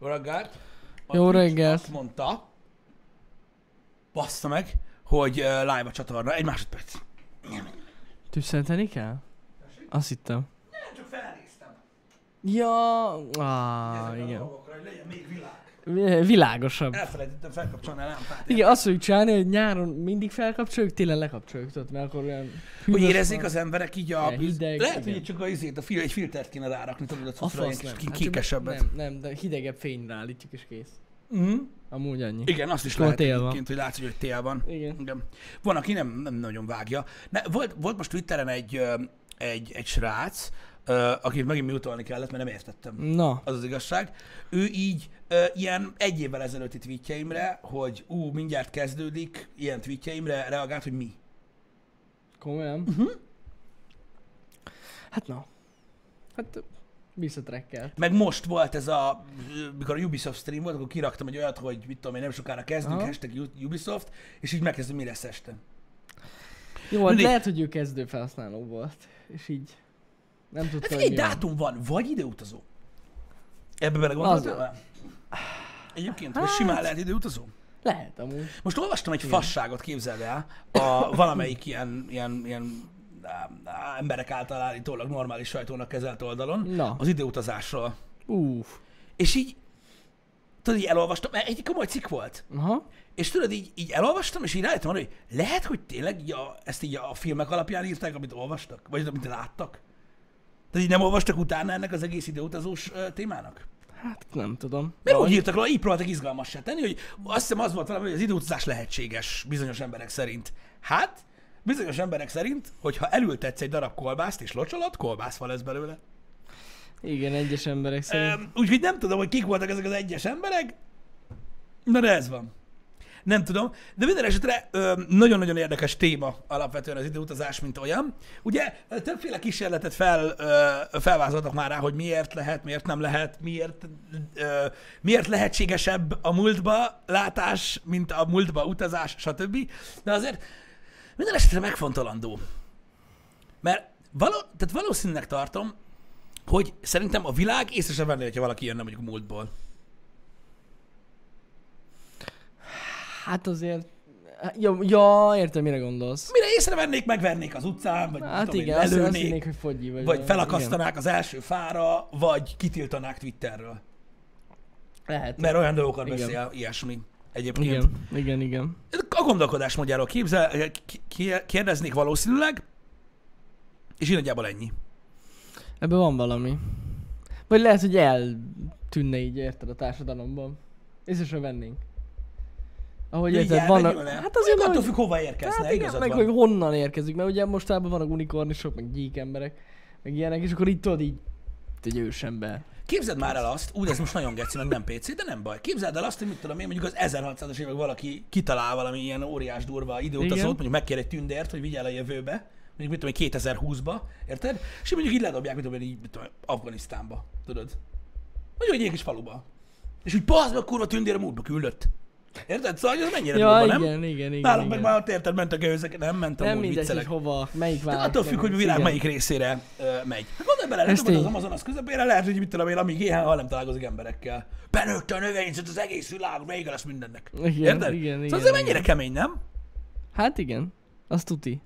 Jó reggelt! A Jó Twitch reggelt. Azt mondta, bassza meg, hogy uh, live a csatorna. Egy másodperc. Tüsszenteni kell? Azt hittem. Nem csak felnéztem. Ja, á, Ezekre a igen. dolgokra, hogy legyen még világ. Vi- Világosabb. Elfelejtettem felkapcsolni a lámpát. Igen, azt fogjuk csinálni, hogy nyáron mindig felkapcsoljuk, télen lekapcsoljuk, tudod, mert akkor olyan... Hogy hűvös érezzék van. az emberek így a... Ja, hideg, lehet, igen. hogy itt csak a, izét, a fil, egy filtert kéne rárakni, tudod, a A cuccra, fasz egy nem. kis Hát, kékesebbet. Nem, nem, de hidegebb fényre állítjuk és kész. Mhm. Amúgy annyi. Igen, azt is Akkor lehet tél van. egyébként, hogy látszik, hogy tél van. Igen. Igen. Van, aki nem, nem nagyon vágja. Ne, volt, volt most Twitteren egy, ö, egy, egy srác, ö, akit megint miutolni kellett, mert nem Mm. értettem. Na, Az az igazság. Ő így ö, ilyen egy évvel ezelőtti tweetjeimre, hogy ú, mindjárt kezdődik, ilyen tweetjeimre reagált, hogy mi. komolyan. Mhm. Uh-huh. Hát na. Hát visszatrekkel. Meg most volt ez a, mikor a Ubisoft stream volt, akkor kiraktam egy olyat, hogy mit tudom én, nem sokára kezdünk, Aha. hashtag U- Ubisoft, és így megkezdem, mi lesz este. Hát Jó, hát Mindig- lehet, hogy ő kezdő felhasználó volt. És így nem tudta, Hát hogy egy mi van. dátum van, vagy ideutazó. Ebbe belegondoltál? Az- Hát- vele? Egyébként, hogy simán lehet időutazó. Lehet amúgy. Most olvastam egy fasságot, képzeld el, a valamelyik ilyen, ilyen, ilyen á, á, emberek által állítólag normális sajtónak kezelt oldalon, Na. az időutazásról. Uff. És Így, tudod, így elolvastam, mert egy komoly cikk volt. Aha. És tudod, így, így elolvastam, és így rájöttem arra, hogy lehet, hogy tényleg így a, ezt így a filmek alapján írták, amit olvastak, vagy amit láttak. Tehát így nem olvastak utána ennek az egész időutazós ö, témának? Hát nem tudom. Mert úgy írtak róla, így próbáltak izgalmassá tenni, hogy azt hiszem az volt valami, hogy az időutazás lehetséges bizonyos emberek szerint. Hát, bizonyos emberek szerint, hogyha elültetsz egy darab kolbászt és locsolod, kolbászfa lesz belőle. Igen, egyes emberek szerint. Öm, Úgyhogy nem tudom, hogy kik voltak ezek az egyes emberek, na de ez van. Nem tudom, de minden esetre öm, nagyon-nagyon érdekes téma alapvetően az időutazás, mint olyan. Ugye ö, többféle kísérletet fel, ö, felvázoltak már rá, hogy miért lehet, miért nem lehet, miért, ö, miért lehetségesebb a múltba látás, mint a múltba utazás, stb. De azért minden esetre megfontolandó. Mert való, tehát valószínűleg tartom, hogy szerintem a világ észre sem venné, hogyha valaki jönne mondjuk a múltból. Hát azért... hát, Ja, ja, értem, mire gondolsz. Mire észrevennék, megvernék az utcán, vagy Hát tudom, igen, én, azt, azt lelőnék, hinnék, hogy fogyi vagy. vagy valami. felakasztanák az első fára, vagy kitiltanák Twitterről. Igen, lehet. Mert olyan dolgokat Igen. beszél, ilyesmi egyébként. Igen. Igen, igen, igen. A gondolkodásmódjáról képzel, eh, ki- ki- kérdeznék valószínűleg, és így nagyjából ennyi. Ebben van valami. Vagy lehet, hogy eltűnne így, érted, a társadalomban. Észre sem vennénk. Ahogy érted, van a... Hát azért nem, attól hogy- függ, hova érkezne, Hát igen, igazad meg van. hogy honnan érkezik, mert ugye mostában vannak unikornisok, meg gyík emberek, meg ilyenek, és akkor így tudod így, te egy ősember. Képzeld már el azt, úgy ez most nagyon geci, meg nem PC, de nem baj. Képzeld el azt, hogy mit tudom én, mondjuk az 1600-as évek valaki kitalál valami ilyen óriás durva időutazót, Igen. mondjuk megkér egy tündért, hogy vigye el a jövőbe, mondjuk mit tudom én, 2020-ba, érted? És így mondjuk így ledobják, mit tudom én, így, mit tudom, én, Afganisztánba, tudod? Mondjuk egy ilyen kis faluba. És úgy bazd meg kurva tündér a múltba küldött. Érted? Szóval hogy az mennyire Ja, durva, igen, nem? igen, igen, igen. Nálunk meg már ott érted, mentek őzek, nem mentem nem úgy mindegy, viccelek. hogy hova, melyik válasz. Tehát attól függ, hogy a világ melyik részére ö, megy. Hát Gondolj bele, nem Ez tudom, az tény. Amazonas közepére lehet, hogy mit tudom én, amíg éhen hal nem találkozik emberekkel. Benőtte a növényzet az egész világ, vége lesz mindennek. Igen, Érted? igen, szóval igen, azért igen. mennyire kemény, nem? Hát igen, azt tuti.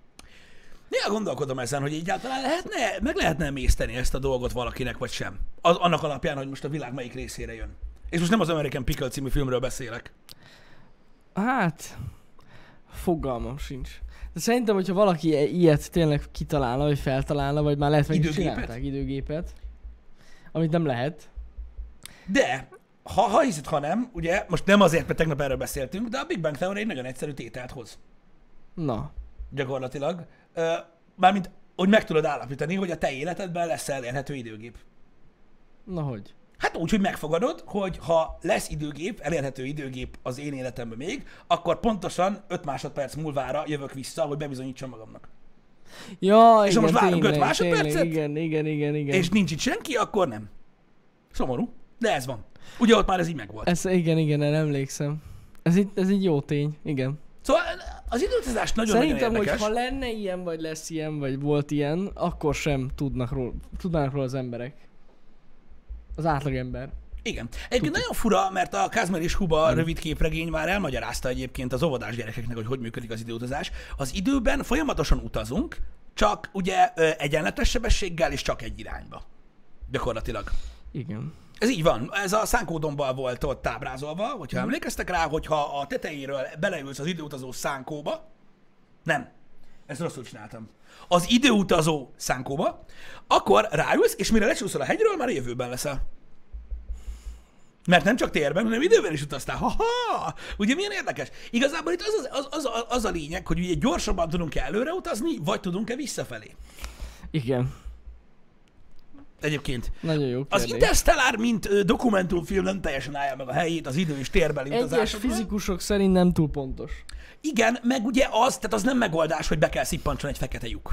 Néha gondolkodom ezen, hogy egyáltalán lehetne, meg lehetne emészteni ezt a dolgot valakinek, vagy sem. Az, annak alapján, hogy most a világ melyik részére jön. És most nem az American Pickle című filmről beszélek. Hát, fogalmam sincs. De szerintem, hogyha valaki i- ilyet tényleg kitalálna, vagy feltalálna, vagy már lehet meg is Időgépet? csinálták, időgépet, amit nem lehet. De, ha, ha hiszed, ha nem, ugye, most nem azért, mert tegnap erről beszéltünk, de a Big Bang Theory egy nagyon egyszerű tételt hoz. Na, gyakorlatilag. Ö, Mármint, hogy meg tudod állapítani, hogy a te életedben lesz elérhető időgép. na hogy? Hát úgy, hogy megfogadod, hogy ha lesz időgép, elérhető időgép az én életemben még, akkor pontosan 5 másodperc múlvára jövök vissza, hogy bebizonyítsam magamnak. Ja, És ha igen, most várunk öt tényleg, másodpercet? tényleg, Igen, igen, igen, igen. Igen. És nincs itt senki, akkor nem. Szomorú, de ez van. Ugye ott már ez így megvolt. Ez, igen, igen, erre emlékszem. Ez itt, ez így jó tény, igen. Szóval az időutazás nagyon-nagyon Szerintem, érdekes. hogy ha lenne ilyen, vagy lesz ilyen, vagy volt ilyen, akkor sem tudnak róla, tudnának róla az emberek. Az átlagember. Igen. Egyébként nagyon fura, mert a Kázmer és Huba rövid képregény már elmagyarázta egyébként az óvodás gyerekeknek, hogy hogy működik az időutazás. Az időben folyamatosan utazunk, csak ugye ö, egyenletes sebességgel és csak egy irányba. Gyakorlatilag. Igen. Ez így van. Ez a szánkódomban volt ott ábrázolva, hogyha emlékeztek rá, hogyha a tetejéről beleülsz az időutazó szánkóba, nem, ezt rosszul csináltam, az időutazó szánkóba, akkor ráülsz, és mire lecsúszol a hegyről, már a jövőben leszel. Mert nem csak térben, hanem időben is utaztál. Ha-ha! Ugye milyen érdekes? Igazából itt az, az, az, az, az a lényeg, hogy ugye gyorsabban tudunk-e előre utazni, vagy tudunk-e visszafelé. Igen. Egyébként. Nagyon jó Az kérdés. Interstellar, mint ö, dokumentumfilm nem teljesen állja meg a helyét az idő és térbeli Egyes utazásokban. fizikusok szerint nem túl pontos. Igen, meg ugye az, tehát az nem megoldás, hogy be kell szippancson egy fekete lyuk.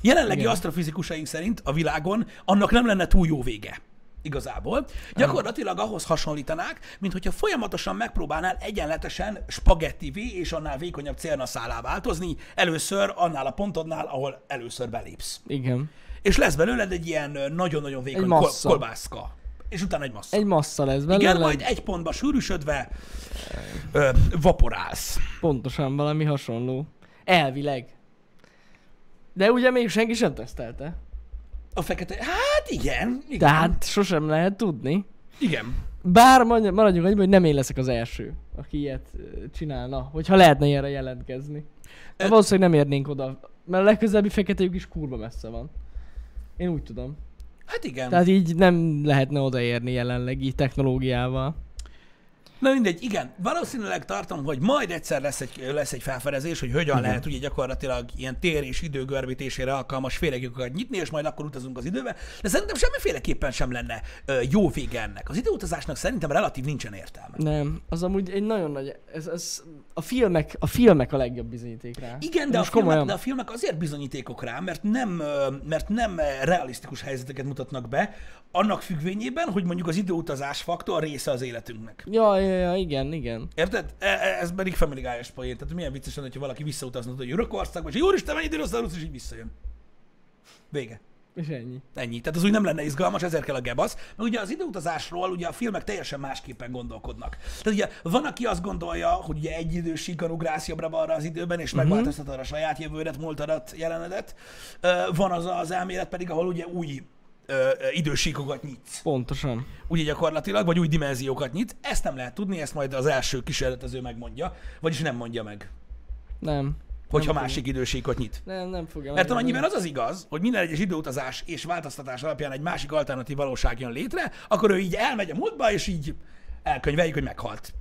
Jelenlegi Igen. asztrofizikusaink szerint a világon annak nem lenne túl jó vége. Igazából. Gyakorlatilag ahhoz hasonlítanák, mint hogyha folyamatosan megpróbálnál egyenletesen spagettivé és annál vékonyabb célnaszálá változni, először annál a pontodnál, ahol először belépsz. Igen. És lesz belőled egy ilyen ö, nagyon-nagyon vékony kol- massza. kolbászka. És utána egy massza. Egy massza lesz belőle. Igen, majd egy pontba sűrűsödve ö, vaporálsz. Pontosan valami hasonló. Elvileg. De ugye még senki sem tesztelte. A fekete... Hát igen. igen. Tehát sosem lehet tudni. Igen. Bár mondj- maradjunk annyiban, hogy nem én leszek az első, aki ilyet ö, csinálna, hogyha lehetne ilyenre jelentkezni. De Ö- valószínűleg nem érnénk oda, mert a legközelebbi fekete lyuk is kurva messze van. Én úgy tudom. Hát igen. Tehát... Tehát így nem lehetne odaérni jelenlegi technológiával. Na mindegy, igen. Valószínűleg tartom, hogy majd egyszer lesz egy, lesz egy felfedezés, hogy hogyan igen. lehet ugye gyakorlatilag ilyen tér és idő görbítésére alkalmas féregjukat nyitni, és majd akkor utazunk az időbe. De szerintem semmiféleképpen sem lenne ö, jó vége ennek. Az időutazásnak szerintem relatív nincsen értelme. Nem, az amúgy egy nagyon nagy, ez, ez a, filmek, a filmek a legjobb bizonyíték rá. Igen, Ez de a, most filmek, de a filmek azért bizonyítékok rá, mert nem, ö, mert nem ö, realisztikus helyzeteket mutatnak be, annak függvényében, hogy mondjuk az időutazás faktor része az életünknek. Ja, ja, ja, igen, igen. Érted? E- e- Ez pedig Family Guy-es poén. Tehát milyen vicces lenne, hogyha valaki visszautazna tudod, hogy Urakorszakba, és Úristen, mennyi dinoszaurusz, és így visszajön. Vége. És ennyi. Ennyi. Tehát az úgy nem lenne izgalmas, ezért kell a gebasz. Mert ugye az időutazásról ugye a filmek teljesen másképpen gondolkodnak. Tehát ugye van, aki azt gondolja, hogy ugye egy idős síkon ugrász jobbra-balra az időben, és megváltoztatod a saját jövődet, múltadat, jelenedet. Ö, Van az az elmélet pedig, ahol ugye új ö, ö, idősíkokat nyitsz Pontosan. ugye gyakorlatilag, vagy új dimenziókat nyit. Ezt nem lehet tudni, ezt majd az első kísérletező megmondja, vagyis nem mondja meg, Nem. hogyha Nem másik idősíkot nyit. Nem, nem fogja Mert megmondani. amennyiben az az igaz, hogy minden egyes időutazás és változtatás alapján egy másik alternatív valóság jön létre, akkor ő így elmegy a múltba, és így elkönyveljük, hogy meghalt.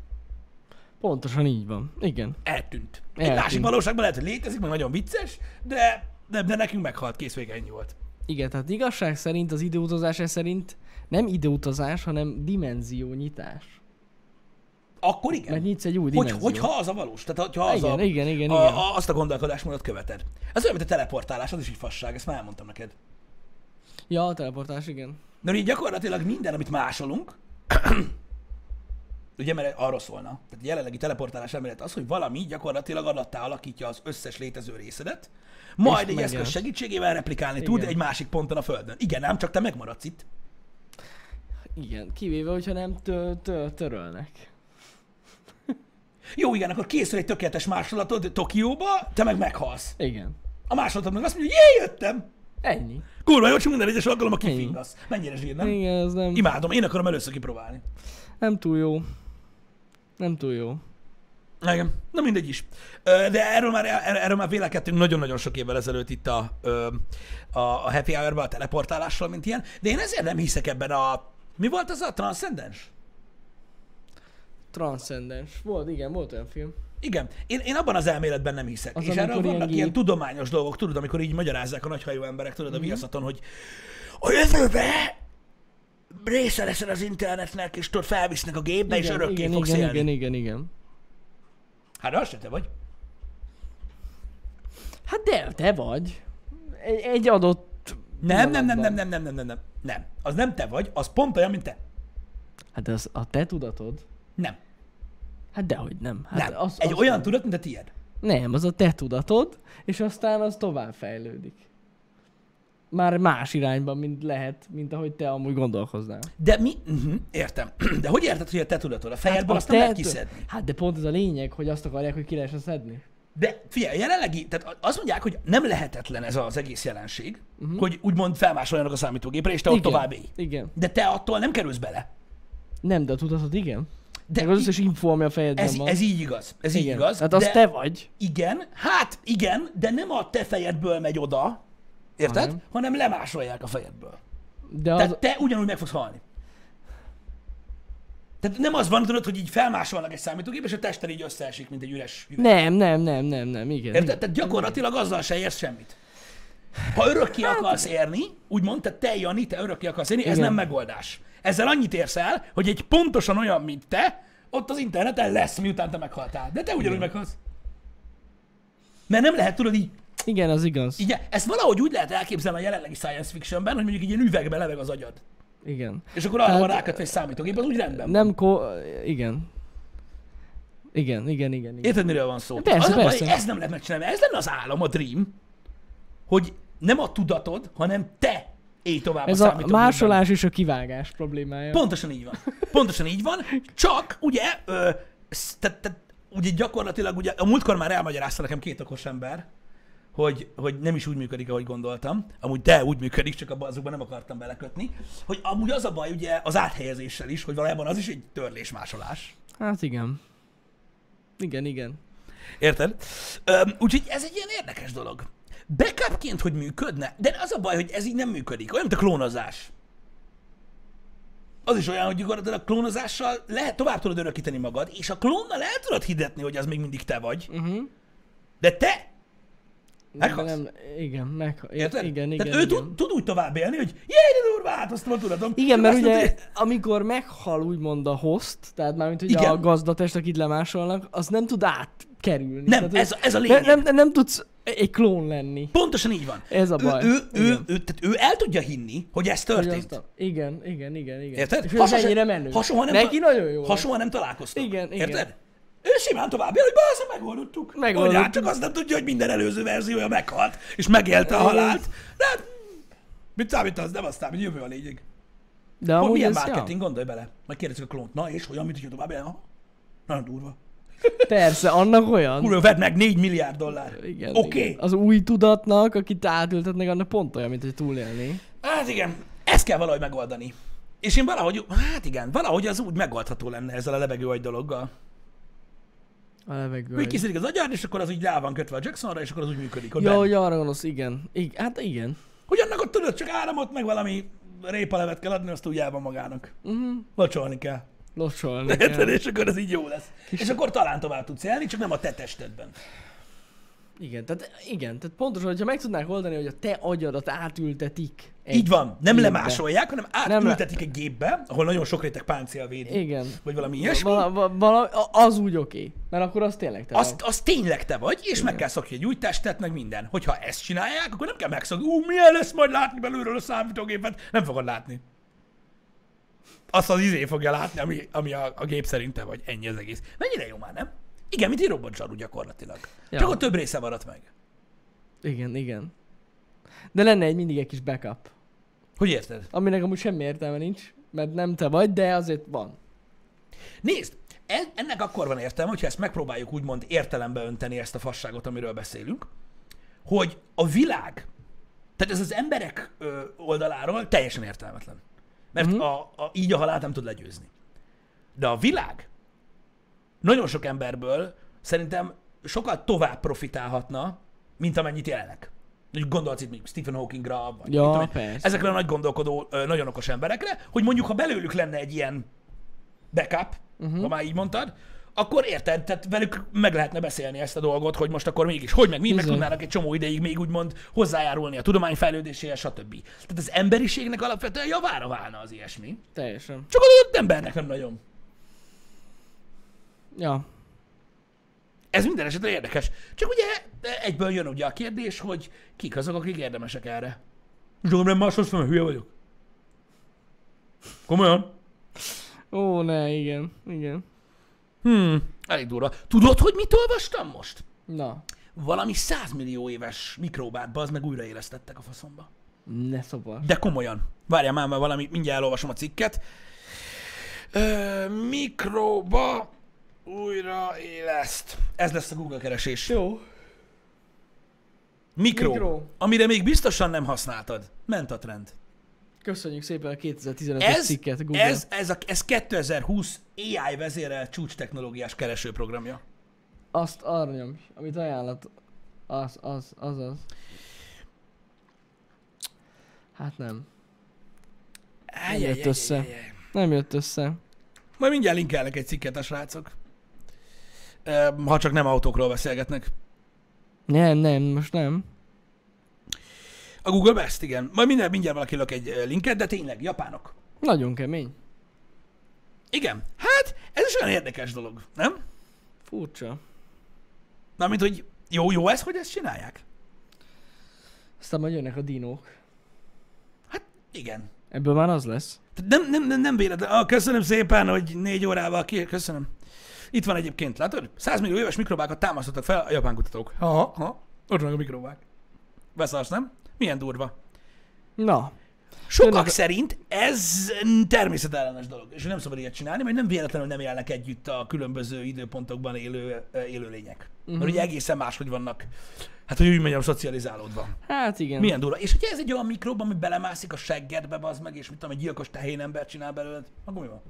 Pontosan így van. Igen. Eltűnt. Egy Eltűnt. másik valóságban lehet, hogy létezik, meg nagyon vicces, de, de, de nekünk meghalt, kész vége, ennyi volt. Igen, tehát igazság szerint az időutazás szerint nem időutazás, hanem dimenziónyitás. Akkor Mert igen. nyitsz egy új Hogy, dimenziót. hogyha az a valós, tehát hogyha az igen, a, igen, igen, a, igen. a, azt a gondolkodásmódot követed. Ez olyan, mint a teleportálás, az is egy fasság, ezt már elmondtam neked. Ja, a teleportás, igen. Na, így gyakorlatilag minden, amit másolunk, ugye, mert arról szólna, tehát a jelenlegi teleportálás elmélet az, hogy valami gyakorlatilag adattá alakítja az összes létező részedet, majd egy megjelenik. eszköz segítségével replikálni tud Igen. egy másik ponton a Földön. Igen, nem, csak te megmaradsz itt. Igen, kivéve, hogyha nem tö- tö- törölnek. Jó, igen, akkor készül egy tökéletes másolatod Tokióba, te meg meghalsz. Igen. A másolatod meg azt mondja, hogy jé, jöttem! Ennyi. Kurva jó, csak minden egyes alkalommal kifingasz. Mennyire zsír, nem? Igen, ez nem, Imádom, én akarom először kipróbálni. nem túl jó. Nem túl jó. Igen, na mindegy is. Ö, De erről már, er- erről már vélekedtünk nagyon-nagyon sok évvel ezelőtt itt a, ö, a, a Happy hour a teleportálással, mint ilyen, de én ezért nem hiszek ebben a... Mi volt az a transzcendens? Transcendens. Volt, igen, volt olyan film. Igen, én, én abban az elméletben nem hiszek. Az, És erről amikor vannak ilyen, ilyen gép- Mhm. tudományos dolgok, tudod, amikor így magyarázzák a nagyhajú emberek, tudod, a viaszaton, hogy a jövőbe része leszel az internetnek, és tudod, felvisznek a gépbe, és igen, örökké igen, fogsz igen, élni. igen, igen, igen. Hát de azt se te vagy. Hát de, te vagy. Egy, egy adott... Nem, nem, nem, nem, pillanatban. nem, nem, nem, nem, nem. Nem. Az nem te vagy, az pont olyan, mint te. Hát az a te tudatod? Nem. Hát dehogy nem. Hát nem. Az, egy az olyan tudat, mint a tiéd. Nem, az a te tudatod, és aztán az tovább fejlődik. már más irányban, mint lehet, mint ahogy te amúgy gondolkoznál. De mi... Uh-huh, értem. De hogy érted, hogy a te tudatod? A Hát fejedből azt Azt nem lehet tehető- kiszedni. Hát de pont ez a lényeg, hogy azt akarják, hogy ki lehessen szedni. De figyelj, a jelenlegi, tehát azt mondják, hogy nem lehetetlen ez az egész jelenség, uh-huh. hogy úgymond felmásoljanak a számítógépre, és te ott tovább élj. Mhm. Igen. De te attól nem kerülsz bele. Nem, de a tudatod igen. De De az í- összes info, ami a fejedben ez, van. ez így igaz. Ez így igen. igaz. Tehát de az te vagy. Igen, hát igen, de nem a te fejedből megy oda, érted? Hanem? Hanem, Hanem lemásolják a fejedből. De az... Tehát te ugyanúgy meg fogsz halni. Tehát nem az van, tudod, hogy így felmásolnak egy számítógép, és a tested így összeesik, mint egy üres üveg. Nem, nem, nem, nem, nem, igen. Érted? Tehát gyakorlatilag azzal se érsz semmit. Ha örökké akarsz érni, úgymond, tehát te, Jani, te örökké akarsz érni, ez Hát- Igen. nem megoldás. Ezzel annyit érsz el, hogy egy pontosan olyan, mint te, ott az interneten lesz, miután te meghaltál. De te ugyanúgy meghalsz. Mert nem lehet, tudod, így, Igen, az igaz. így, ezt valahogy úgy lehet elképzelni a jelenlegi science fictionben, hogy mondjuk egy ilyen üvegbe leveg az agyad. Igen. És akkor arra Tehát- van rákötve egy számítógép, az úgy rendben. Nem ko... Igen. Igen, igen, igen, igen. Érted, miről van szó? Persze, az a persze. Baj, ezt nem lehet megcsinálni, mert ez lenne az álom, a dream, hogy nem a tudatod, hanem te élj tovább Ez a a számítógépben. másolás és a kivágás problémája. Pontosan így van. Pontosan így van, csak ugye, ö, sz- tehát, tehát, ugye gyakorlatilag, ugye a múltkor már elmagyarázta nekem két okos ember, hogy, hogy nem is úgy működik, ahogy gondoltam. Amúgy de úgy működik, csak abban azokban nem akartam belekötni. Hogy amúgy az a baj ugye az áthelyezéssel is, hogy valójában az is egy törlésmásolás. Hát igen. Igen, igen. Érted? Öm, úgyhogy ez egy ilyen érdekes dolog. Backupként, hogy működne, de az a baj, hogy ez így nem működik. Olyan, mint a klónozás. Az is olyan, hogy gyakorlatilag a klónozással lehet, tovább tudod örökíteni magad, és a klónnal el tudod hirdetni, hogy az még mindig te vagy. Uh-huh. De te Meghalsz. Nem, igen, meg... Érted? Igen, igen, Tehát ő igen. tud, tud, úgy tovább élni, hogy jaj, de durva, változtam a tudatom. Igen, mert Azt ugye mondta, amikor meghal úgymond a host, tehát mármint ugye Igen. a gazdatest, akit lemásolnak, az nem tud átkerülni. Nem, tehát, ez, ez a ne, lényeg. nem, nem tudsz e- egy klón lenni. Pontosan így van. Ez a baj. Ő, ő, ő, Igen. ő, tehát ő el tudja hinni, hogy ez Hogy történt. azt a- Igen, igen, igen, igen. Érted? És ez se- ennyire menő. Ha soha nem, Neki ta- nagyon jó. ha soha nem találkoztunk. Igen, igen. Érted? Ő simán tovább jön, hogy bász, megoldottuk. Megoldottuk. Mondják, csak azt nem tudja, hogy minden előző verziója meghalt, és megélte a halált. De hát, mit számít az, nem aztán, hogy jövő a lényeg. De Hogy amúgy milyen ez, marketing, ja, gondolj bele. Majd kérdezzük a klónt, na és hogyan, mit tudja tovább jön? Aha. Nagyon durva. persze, annak olyan. Kurva, vedd meg 4 milliárd dollár. Igen, Oké. igen. Az új tudatnak, akit átültetnek, annak pont olyan, mint hogy túlélni. Hát igen, ezt kell valahogy megoldani. És én valahogy, hát igen, valahogy az úgy megoldható lenne ezzel a lebegő agy dologgal. A levegő. Hogy kiszedik az agyad, és akkor az úgy rá van kötve a Jacksonra, és akkor az úgy működik. Hogy, Jó, ben- hogy arra gondolsz, igen. igen. Hát igen. hogy annak ott tudod, csak áramot, meg valami répalevet kell adni, azt úgy el van magának. Uh-huh. Locsolni kell. Locsolni Érted? kell. És akkor az így jó lesz. És akkor talán tovább tudsz élni, csak nem a te testedben. Igen, tehát, igen, tehát pontosan, hogyha meg tudnák oldani, hogy a te agyadat átültetik. egy- Így van. Nem Így lemásolják, hanem le- átültetik egy gépbe, ahol nagyon sok réteg páncél védi. Igen. Vagy valami ilyesmi. Vala, va- vala, a- az úgy oké, mert akkor az tényleg te Az, az tényleg te vagy, és meg kell szokni egy új testet, meg minden. Hogyha ezt csinálják, akkor nem kell megszokni. Ú, milyen lesz majd látni belülről a számítógépet? Nem fogod látni. Azt az izé fogja látni, ami, ami a, a gép szerint te vagy. Ennyi az egész. Mennyire jó már, nem? Igen, mint egy robotzsarú gyakorlatilag. Ja. Csak ott több része maradt meg. vagy. Igen, igen. De lenne egy mindig egy kis backup, Hogy érted? aminek amúgy semmi értelme nincs, mert nem te vagy, de azért van. Nézd, en- ennek akkor van értelme, hogyha ezt megpróbáljuk úgymond értelembe önteni ezt a fasságot, amiről beszélünk, hogy a világ, tehát ez az emberek ö, oldaláról teljesen értelmetlen. Mert Mhm. mm-hmm. a, a, így a halált nem tud legyőzni. De a világ nagyon sok emberből szerintem sokkal tovább profitálhatna, mint amennyit jelenleg. Mondjuk gondolsz itt mondjuk Stephen Hawkingra, vagy Ja, mit tudom én, persze. ezekre a nagy gondolkodó, ö, nagyon okos emberekre, hogy mondjuk ha belőlük lenne egy ilyen backup, uh-huh. ha már így mondtad, akkor érted, tehát velük meg lehetne beszélni ezt a dolgot, hogy most akkor mégis, hogy meg mi, meg Bizony. tudnának egy csomó ideig még úgymond hozzájárulni a tudomány fejlődéséhez, stb. Tehát az emberiségnek alapvetően javára válna az ilyesmi. Teljesen. Csak az adott embernek nem nagyon. Ja. Ez minden esetre érdekes. Csak ugye egyből jön ugye a kérdés, hogy kik azok, akik érdemesek erre. Zsóom, nem máshoz fel, mert hülye vagyok. Komolyan? Ó, ne, igen, igen. Hmm, elég durva. Tudod, hogy mit olvastam most? Na. valami 100 millió éves mikróbát, az meg újraélesztettek a faszomba. Ne szobar. De komolyan. Várjál már, már valami, mindjárt elolvasom a cikket. Ö, mikroba újraéleszt. Ez lesz a Google keresés. Jó. Mikro, Mikro. amire még biztosan nem használtad. Ment a trend. Köszönjük szépen a 2015-es Ez, cikket, Google. ez, ez, a, ez 2020 AI vezérel csúcs technológiás keresőprogramja. Azt arra nyomj, amit ajánlat. Az, az, az, az. Hát nem. Áj, jött áj, áj, össze. áj, áj. Nem jött össze. Majd mindjárt linkelnek egy cikket a srácok. Ö, Ha csak nem autókról beszélgetnek. Nem, nem, most nem. A Google Best, igen. Majd mindjárt, mindjárt valaki lök egy ö, linket, de tényleg, japánok. Nagyon kemény. Igen. Hát, ez is olyan érdekes dolog, nem? Furcsa. Mármint, hogy jó, jó ez, hogy ezt csinálják. Aztán majd jönnek a dinók. Hát, igen. Ebből már az lesz. Tehát Nem, nem, nem, nem véletlen. Ah, köszönöm szépen, hogy négy órával ki... Köszönöm. Itt van egyébként, látod? 100 millió éves mikrobákat támasztottak fel a japán kutatók. Ha, ha. Ott vannak a mikrobák. Beszarsz, nem? Milyen durva. Na, Sokak Tényleg- szerint ez természetellenes dolog, és nem szabad ilyet csinálni, mert nem véletlenül nem élnek együtt a különböző időpontokban élő ö, élőlények. Uh-huh. Mhm. Mert ugye egészen máshogy vannak, hát hogy úgy mondjam, szocializálódva. hát igen. Milyen durva. És hogyha ez egy olyan mikrob, ami belemászik a seggedbe, bazd meg, és mit tudom, egy gyilkos tehén ember csinál belőled, akkor mi van?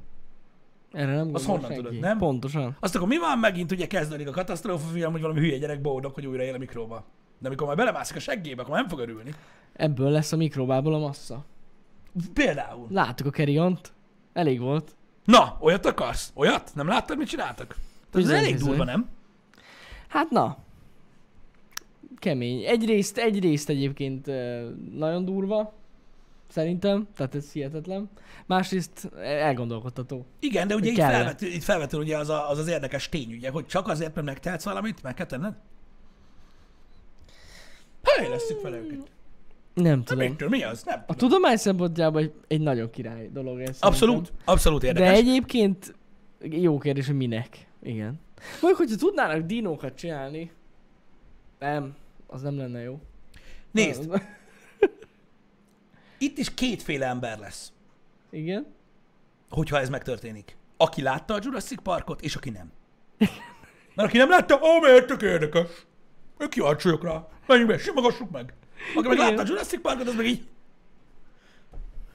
Erre nem Azt gondol honnan senki. tudod, nem? Pontosan. Azt akkor mi van? Megint ugye kezdődik a katasztrófa film, hogy valami hülye gyerek boldog, hogy újra él a mikróba. De amikor már belemászik a seggébe, akkor már nem fog örülni. Ebből lesz a mikrobából a massza. Például. Láttuk a keriont. Elég volt. Na, olyat akarsz? Olyat? Nem láttad, mit csináltak? Tehát ez Bizony, elég bizony. durva, nem? Hát na. Kemény. Egyrészt, egyrészt egyébként ö, nagyon durva. Szerintem. Tehát ez hihetetlen. Másrészt e, elgondolkodtató. Igen, de ugye itt Kell. felvetül, itt felvetül ugye az, a, az az érdekes tény, ugye, hogy csak azért, mert megtehetsz valamit, meg hát kell tenned? Fejlesztjük fel őket. Nem De tudom. mitől, mi az? Nem A tudom. tudomány szempontjából egy, egy nagyon király dolog ez. Abszolút, szerintem. abszolút érdekes. De egyébként jó kérdés, hogy minek. Igen. Mondjuk, hogyha tudnának dinókat csinálni, nem, az nem lenne jó. Nézd, itt is kétféle ember lesz, Igen. hogyha ez megtörténik. Aki látta a Jurassic Parkot, és aki nem. Mert aki nem látta, ó, miért tök érdekes. Ők kíváncsiak rá. Menjünk be, simogassuk meg. Aki meg Igen. látta a Jurassic Parkot, az meg így...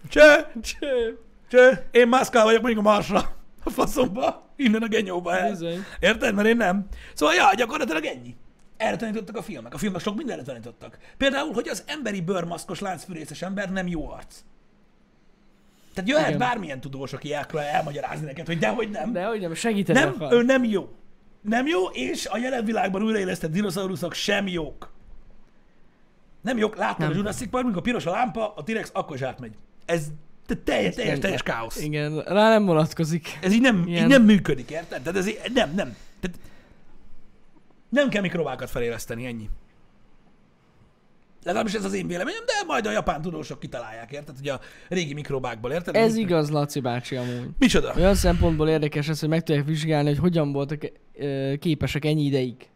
Cseh, Cső. Cső, én mászkál vagyok mondjuk a Marsra, a faszomba, innen a genyóba el. Bizony. Érted? Mert én nem. Szóval, ja, gyakorlatilag ennyi. Erre tanítottak a filmek. A filmek sok mindenre tanítottak. Például, hogy az emberi bőrmaszkos láncfűrészes ember nem jó arc. Tehát jöhet Igen. bármilyen tudós, aki el- elmagyarázni neked, hogy dehogy nem. De hogy nem, segíteni nem, akar. ő nem jó. Nem jó, és a jelen világban újraélesztett dinoszauruszok sem jók. Nem jók, láttad a Nem. Jurassic Park, amikor piros a lámpa, a T-rex akkor is átmegy. Ez te- teljes, teljes, teljes káosz. Igen, rá nem vonatkozik. Ez így nem, így Ilyen- nem működik, érted? Tehát ez így, nem, nem. Tehát nem kell mikrobákat feléleszteni, ennyi. Legalábbis ez az én véleményem, de majd a japán tudósok kitalálják, érted? Ugye a régi mikrobákból, érted? Ez Mit- igaz, Laci bácsi amúgy. Micsoda? Olyan szempontból érdekes ez, hogy meg tudják vizsgálni, hogy hogyan voltak ö, képesek ennyi ideig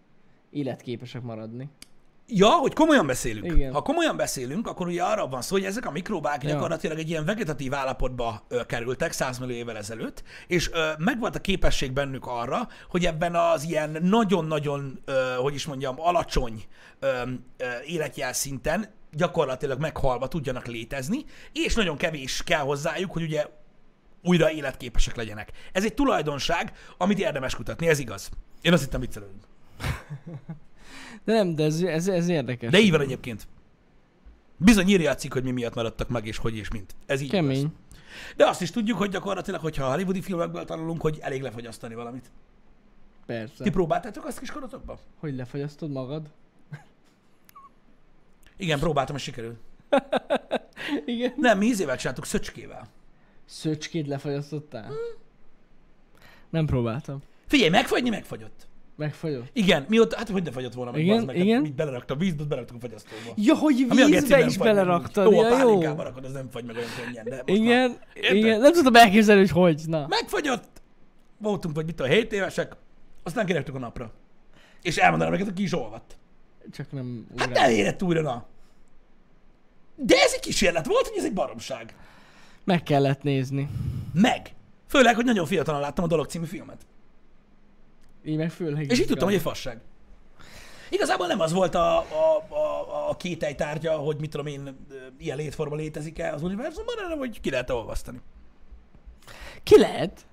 életképesek maradni. Ja, hogy komolyan beszélünk. Igen. Ha komolyan beszélünk, akkor ugye arra van szó, hogy ezek a mikrobák ja. Ja. gyakorlatilag egy ilyen vegetatív állapotba ö, kerültek 100 millió évvel ezelőtt, és ö, megvolt a képesség bennük arra, hogy ebben az ilyen nagyon-nagyon, ö, hogy is mondjam, alacsony ö, ö, életjel szinten gyakorlatilag meghalva tudjanak létezni, és nagyon kevés kell hozzájuk, hogy ugye újra életképesek legyenek. Ez egy tulajdonság, amit érdemes kutatni, ez igaz. Én azt hittem viccelődünk. De nem, de ez, ez, ez érdekes. De így van egyébként. Bizony írja a cikk, hogy mi miatt maradtak meg, és hogy és mint. Ez így Kemény. Igaz. De azt is tudjuk, hogy gyakorlatilag, hogyha a hollywoodi filmekből tanulunk, hogy elég lefogyasztani valamit. Persze. Ti próbáltátok azt kiskorotokban? Hogy lefagyasztod magad? Igen, próbáltam, és sikerült. Igen. Nem, mi ízével csináltuk, szöcskével. Szöcskét lefagyasztottál? Nem próbáltam. Figyelj, megfagyni megfagyott. Megfagyott. Igen, mióta, hát hogy ne fagyott volna, meg Igen, bazd meg, igen. Hát, mit beleraktam vízbe, beleraktam a fagyasztóba. Ja, hogy Hát mi a geci, vízbe nem is fagy meg beleraktad, úgy? Jó, a ja, jó. pálinkába rakod, az nem fagy meg olyan könnyen, de most már. Igen, Érted? igen, nem tudom elképzelni, hogy hogy, na. Megfagyott, voltunk vagy mit a 7 évesek, aztán kirektük a napra. És elmondanám neked, hogy ki is olvadt. Csak nem Hát ugrál. nem érett újra, na. De ez egy kísérlet volt, hogy ez egy baromság. Meg kellett nézni. Meg. Főleg, hogy nagyon fiatalon láttam a Dolog című filmet. Így meg főleg. És így tudtam, hogy egy fasság. Igazából nem az volt a, a, a, a kételj tárgya, hogy mit tudom én, ilyen létforma létezik-e az univerzumban, hanem hogy ki lehet olvasztani. Ki lehet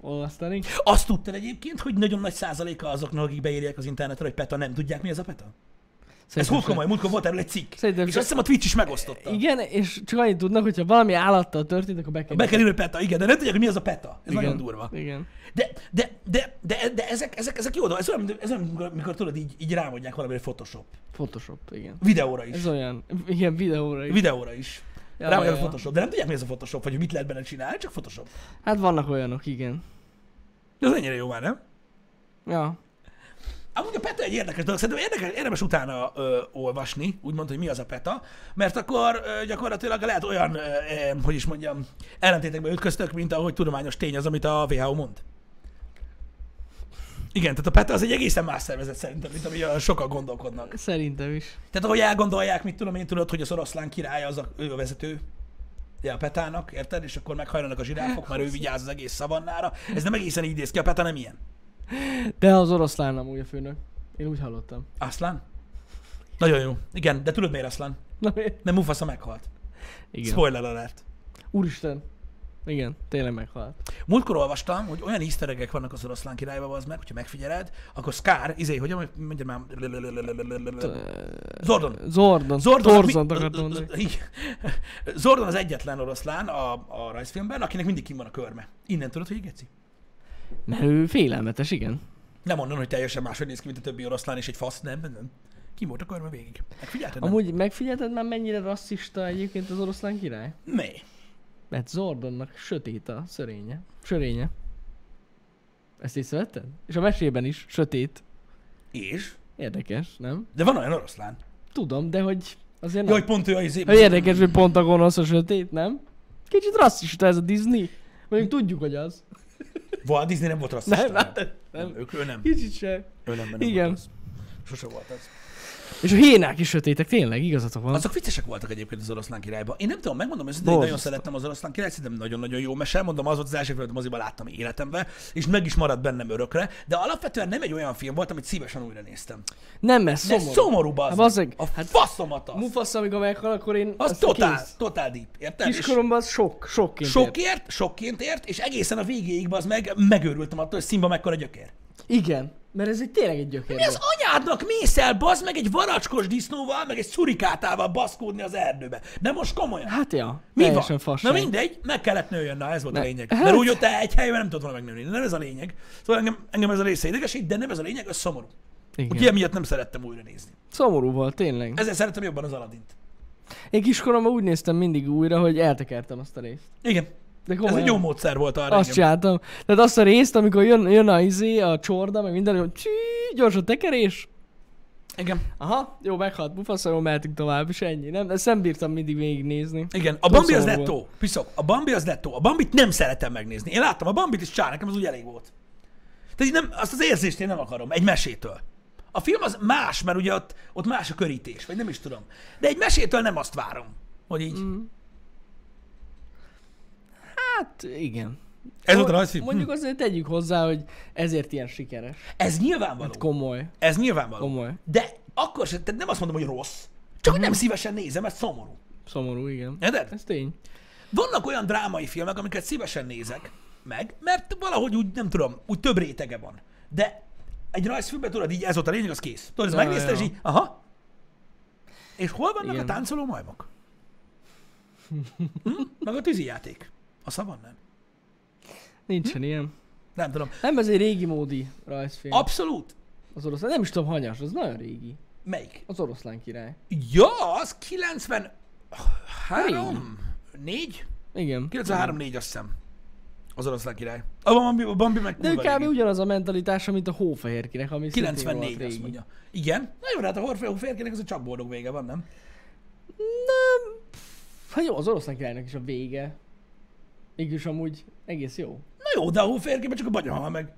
olvasztani? Azt tudtad egyébként, hogy nagyon nagy százaléka azoknak, akik beírják az internetre, hogy PETA, nem tudják, mi az a PETA? Ez Szerintem hol komoly, se- múltkor volt erről egy cikk. Szerintem és se- azt hiszem a Twitch is megosztotta. Igen, és csak annyit tudnak, hogyha valami állattal történt, akkor be kell. Be kell írni, hogy PETA, igen, de nem tudják, hogy mi az a PETA. Ez Igen. nagyon durva. Igen. De, de, de, de, de ezek, ezek, ezek jó dolgok. Ez olyan, mint- ez olyan, mikor, mikor tudod, így, így rámondják valamire Photoshop. Photoshop, igen. Videóra is. Ez olyan. Igen, videóra is. Videóra is. Ja, Rámondják, ja, hogy ja. Photoshop. De nem tudják, mi ez a Photoshop, vagy hogy mit lehet benne csinálni, csak Photoshop. Hát vannak olyanok, igen. De az ennyire jó már, nem? Ja. Amúgy a PETA egy érdekes dolog, szerintem érdekes, érdemes utána ö, olvasni, úgymond, hogy mi az a PETA, mert akkor ö, gyakorlatilag lehet olyan, ö, ö, hogy is mondjam, ellentétekbe ütköztök, mint ahogy tudományos tény az, amit a WHO mond. Igen, tehát a PETA az egy egészen más szervezet szerintem, mint ami sokan gondolkodnak. Szerintem is. Tehát ahogy elgondolják, mit tudom én, tudod, hogy az oroszlán királya az a, ő a vezető, Ja, a petának, érted? És akkor meghajlanak a zsiráfok, mert ő vigyáz az egész szavannára. Ez nem egészen így néz ki, a peta nem ilyen. De az oroszlán amúgy a főnök. Én úgy hallottam. Aszlán? Nagyon jó. Igen, de tudod miért Aszlán? Na, mi- Mert Mufasa meghalt. Igen. igen. Spoiler alert. Úristen. Igen, tényleg meghalt. Múltkor olvastam, hogy olyan easter egg-ek vannak az oroszlán királyban, az meg, hogyha megfigyeled, akkor Scar, izé, hogy mondja már... Zordon. Zordon, Zordon. Zorzont mi- akartam mondani. Igen. Zordon az egyetlen oroszlán a, a rajzfilmben, akinek mindig kim van a körme. Innen tudod, hogy geci? Mert ő félelmetes, igen. Nem onnan, hogy teljesen máshogy néz ki, mint a többi oroszlán és egy fasz, nem, nem. Kim volt a körme végig. Megfigyelted? Nem? Amúgy megfigyelted már mennyire rasszista egyébként az oroszlán király? Mi? Mert Zordonnak sötét a szörénye. Sörénye. Ezt észrevetted? És a mesében is sötét. És? Érdekes, nem? De van olyan oroszlán. Tudom, de hogy azért nem. Jaj, pont ő a izé... Hogy érdekes, hogy pont a gonosz a sötét, nem? Kicsit rasszista ez a Disney. Mondjuk tudjuk, hogy az. Walt Disney nem volt rasszista. Nem, hát nem. Ők, ő nem. Kicsit se. Ő nem, nem Igen. Volt az. Sose volt az. És a hénák is sötétek, tényleg, igazatok van. Azok viccesek voltak egyébként az oroszlán királyban. Én nem tudom, megmondom, hogy én nagyon Borzasztó. szerettem az oroszlán királyt, szerintem nagyon-nagyon jó mese. Mondom, az volt az első film, amit moziban láttam életemben, és meg is maradt bennem örökre, de alapvetően nem egy olyan film volt, amit szívesen újra néztem. Nem, mert De szomorú. szomorú, szomorú Hát bazd bazzeg, meg. A hát- faszomat az. Mufassa, amikor meghal, akkor én... Az aztán totál, kész. totál deep, érted? És Kiskoromban az sok, sokként ért. Sokért, sokként ért, és egészen a végéig az meg megőrültem attól, hogy színba mekkora gyökér. Igen, mert ez egy tényleg egy gyökér. Mi az anyádnak mész el, bazd meg egy varacskos disznóval, meg egy szurikátával baszkódni az erdőbe? De most komolyan. Hát ja, Mi teljesen van? fasság. Na mindegy, meg kellett nőjön, na ez volt a Ne- lényeg. hát- Mert úgy ott egy helyben nem tudott volna megnőni, de nem ez a lényeg. Szóval engem, engem ez a része idegesít, de nem ez a lényeg, ez szomorú. Úgyhogy Igen. emiatt nem szerettem újra nézni. Szomorú volt, tényleg. Ezért szerettem jobban az Aladint. Én kiskoromban úgy néztem mindig újra, hogy eltekertem azt a részt. Igen. De Ez komolyan. egy jó módszer volt arra. Azt igen. csináltam. Tehát azt a részt, amikor jön, jön a izé, a csorda, meg minden, hogy csí, gyors a tekerés. Igen. Aha, jó, meghalt bufasza, jó, mehetünk tovább, és ennyi. Nem, ezt nem bírtam mindig végignézni. Igen, a Bambi az szomorú nettó. Piszok, a Bambi az nettó. A Bambit nem szeretem megnézni. Én láttam a Bambit, és csá, nekem az úgy elég volt. Tehát így nem, azt az érzést én nem akarom, egy mesétől. A film az más, mert ugye ott, ott más a körítés, vagy nem is tudom. De egy mesétől nem azt várom, hogy így. Mm. Hát, igen. Ez volt Mond- a Hm. rajzfilm. Mondjuk azért tegyük hozzá, hogy ezért ilyen Hm. sikeres. Ez nyilvánvaló. Komoly. Ez nyilvánvaló. Komoly. Mhm. De akkor sem, tehát nem azt mondom, hogy rossz. Csak nem szívesen nézem, mert szomorú. Szomorú, igen. Érted? Ez tény. Vannak olyan drámai filmek, amiket szívesen nézek meg, mert valahogy úgy, nem tudom, úgy több rétege van. De egy rajzfilmben tudod, így ez volt a lényeg, az kész. Tudod, ezt Ja, megnézted, ja. és így, aha. És hol vannak Igen. Igen. a táncoló majmok? Hm? Meg a tűzijáték. A szavannán. Nincsen ilyen. Nem tudom. Nem, ez egy régi módi rajzfilm. Abszolút. Az oroszlán, nem is tudom hanyas, az nagyon régi. Melyik? Az oroszlán király. Ja, az 93. 4? Igen. 93-4 azt hiszem. Az oroszlán király. A Bambi, a Bambi meg De ő kurva kb. régi. ugyanaz a mentalitása, mint a hófehérkinek, ami szintén volt 94 azt régi. mondja. Igen. Na jó, de hát a Horfeó férkének az a csak boldog vége van, nem? Na, pff, hát jó, az oroszlán királynak is a vége. Mégis amúgy egész jó. Na jó, de a hóférkében csak a bagyon hal meg.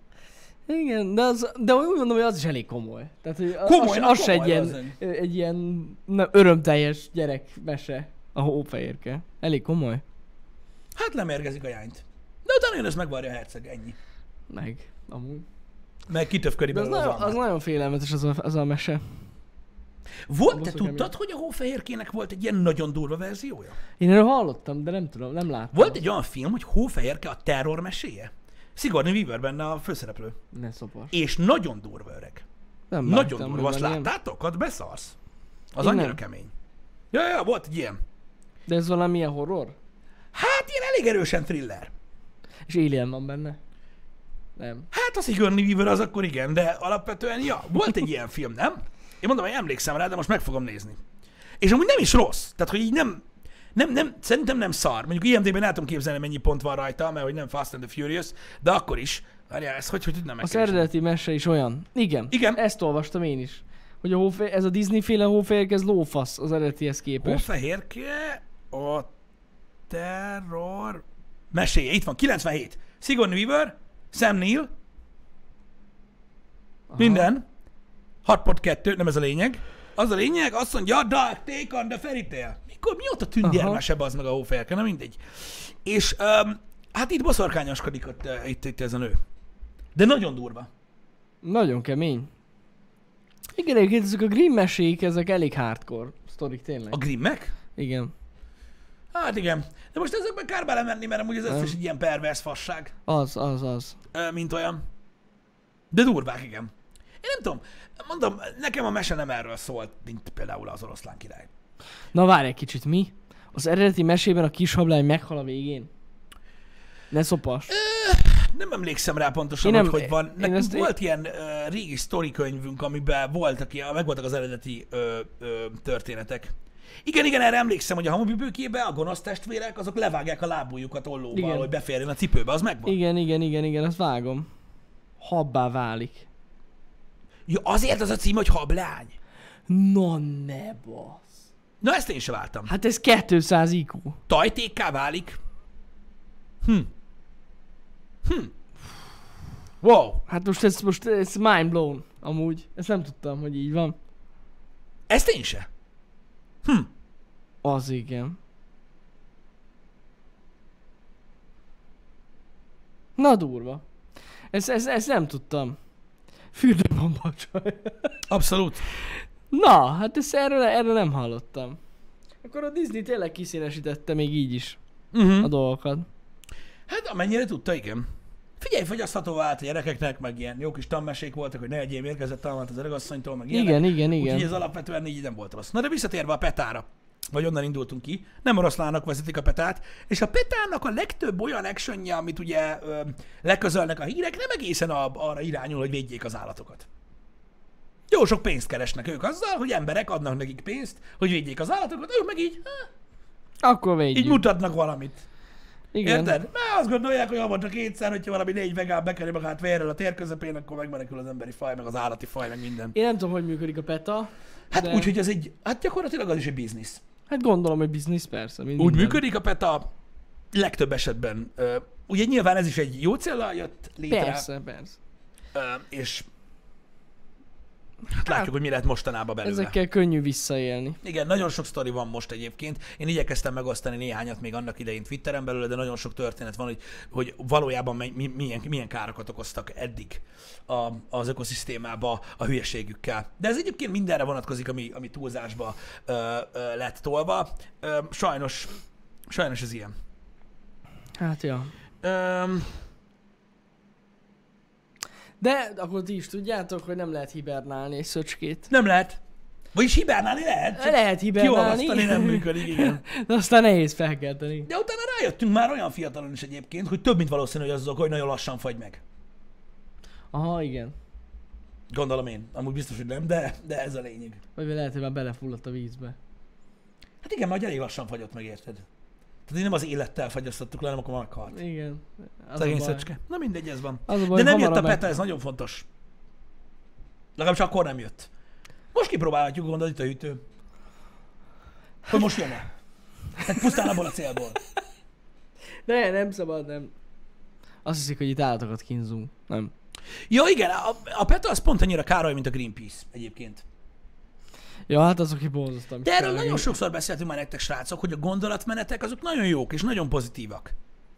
Igen, de, az, de úgy mondom, hogy az is elég komoly. Tehát, hogy Komoly, az, na az se egy komoly ilyen, az egy ilyen nem, örömteljes gyerekmese. A hófehérke. Elég komoly. Hát lemérgezik a jányt. De utána jön, ezt megvarja a herceg, ennyi. Meg, amúgy. Meg kitöfköri De az, belőle az, nagyon, az az, nagyon félelmetes az a, az a mese. Volt, te bosszú tudtad, kemény. hogy a hófehérkének volt egy ilyen nagyon durva verziója? Én erről hallottam, de nem tudom, nem láttam. Volt egy olyan film, hogy Hófehérke a terror meséje. Sigourney Weaver benne a főszereplő. Ne szopor. És nagyon durva öreg. Nem Nagyon láttam, durva, hogy azt van ilyen. láttátok? Ott beszarsz. Az Én annyira nem. kemény. Ja, ja, volt egy ilyen. De ez valamilyen horror? Hát ilyen elég erősen thriller. És Alien van benne? Nem. Hát az Sigourney Weaver az akkor igen, de alapvetően, ja, volt egy ilyen film, nem? Én mondom, hogy emlékszem rá, de most meg fogom nézni. És amúgy nem is rossz. Tehát, hogy így nem, nem, nem, szerintem nem szar. Mondjuk IMDb-ben el tudom képzelni, mennyi pont van rajta, mert hogy nem Fast and the Furious, de akkor is. Várjál, ez hogy, hogy tudnám Az megkeresni? eredeti mese is olyan. Igen. Igen. Ezt olvastam én is. Hogy a hófé... ez a Disney féle hóférke, ez lófasz az eredetihez képest. Hófehérke a terror meséje. Itt van, 97. Sigourney Weaver, Sam Neill, Aha. minden. 6.2, nem ez a lényeg. Az a lényeg, azt mondja, Dark Take on the Fairy Tale. Mikor, mióta tűnt Aha. gyermesebb az meg a hófehérke, na mindegy. És um, hát itt boszorkányoskodik ott, uh, itt, itt ez a nő. De nagyon durva. Nagyon kemény. Igen, egyébként ezek a Grimm mesék, ezek elég hardcore sztorik tényleg. A grimmek? Igen. Hát igen. De most ezekben kár belemenni, mert amúgy ez összes Nem. egy ilyen pervers fasság. Az, az, az. Ö, mint olyan. De durvák, igen. Én nem tudom, mondom, nekem a mese nem erről szólt, mint például az oroszlán király. Na várj egy kicsit, mi? Az eredeti mesében a kis hablány meghal a végén. Ne szopas. Nem emlékszem rá pontosan, Én nem, nem- hogy hogy van. én Nekünk ezt- volt ilyen ö, régi sztorikönyvünk, amiben voltak, ilyen- megvoltak az eredeti ö, ö, történetek. Igen, igen, erre emlékszem, hogy a hamubibőkébe a gonosz testvérek, azok levágják a lábújukat ollóval, Igen. hogy beférjen a cipőbe, az megvan. Igen, igen, igen, igen, azt vágom. Habbá válik. Ja, azért az a cím, hogy hablány. Na ne basz. Na ezt én sem váltam. Hát ez 200 IQ. tajtékká válik. Hm. Hm. Wow. Hát most ez most ez mind blown, amúgy. Ezt nem tudtam, hogy így van. Ezt én se. Hm. Az igen. Na durva. Ez, ez, ez nem tudtam. Fürdőbomba csaj. Abszolút. Na, hát ezt erről, erről nem hallottam. Akkor a Disney tényleg kiszínesítette még így is Uh-huh. a dolgokat. Hát amennyire tudta, igen. Figyelj, fogyasztható vált a gyerekeknek, meg ilyen jó kis tanmesék voltak, hogy ne egyéb érkezett tanulmat az öregasszonytól, meg ilyenek. Igen, igen, igen. Úgyhogy ez alapvetően így nem volt rossz. Na de visszatérve a petára, vagy onnan indultunk ki, nem oroszlának vezetik a petát, és a petának a legtöbb olyan actionja, amit ugye ö, leközölnek a hírek, nem egészen a, arra irányul, hogy védjék az állatokat. Jó sok pénzt keresnek ők azzal, hogy emberek adnak nekik pénzt, hogy védjék az állatokat, ők meg így, há, Akkor védjük. így mutatnak valamit. igen. Érted? Mert azt gondolják, hogy havonta kétszer, hogyha valami négy vegán bekerül magát vérrel a tér közepén, akkor megmenekül az emberi faj, meg az állati faj, meg minden. Én nem tudom, hogy működik a PETA. Hát de- úgy, hogy ez egy, hát gyakorlatilag az is egy biznisz. Hát gondolom, hogy biznisz persze. mint Úgy minden. működik a PETA legtöbb esetben. Ö, Ugye nyilván ez is egy jó célra jött létre, Persze, persze. ö, és hát látjuk, hogy mi lett mostanában belőle. Ezekkel könnyű visszaélni. Igen, nagyon sok sztori van most egyébként. Én igyekeztem megosztani néhányat még annak idején Twitteren belőle, de nagyon sok történet van, hogy, hogy valójában mi- mi- milyen, milyen károkat okoztak eddig a, az ökoszisztémába a hülyeségükkel. De ez egyébként mindenre vonatkozik, ami, ami túlzásba ö, ö, lett tolva. Ö, sajnos, sajnos ez ilyen. Hát ja. Ö, De akkor ti is tudjátok, hogy nem lehet hibernálni egy szöcskét. nem lehet. Vagyis hibernálni lehet, csak Lehet hibernálni. kiolvasztani nem működik, igen. De aztán nehéz felkelteni. De utána rájöttünk már olyan fiatalon is egyébként, hogy több mint valószínű, hogy az az oka, hogy nagyon lassan fagy meg. Aha, igen. Gondolom én. Amúgy biztos, hogy nem, de, de ez a lényeg. Vagy lehet, hogy már belefulladt a vízbe. Hát igen, majd elég lassan fagyott meg, érted? Tehát így nem az élettel fagyasztottuk le, hanem akkor már meghalt. Igen. Az a Szegény baj. szöcske. Na mindegy, ez van. Az a baj, De nem jött hamarabb a meg- PETA, ez nagyon fontos. Legalábbis akkor nem jött. Most kipróbálhatjuk, gondolod itt a hűtő. Hogy most jön-e? Tehát pusztán abból a célból. Ne, nem szabad, nem. Azt hiszik, hogy itt állatokat kínzunk. Nem. Ja igen, a, a PETA az pont annyira károly, mint a Greenpeace egyébként. Ja, hát azok ki borzasztóan De erről kiszállnak. nagyon sokszor beszéltünk már nektek, srácok, hogy a gondolatmenetek azok nagyon jók és nagyon pozitívak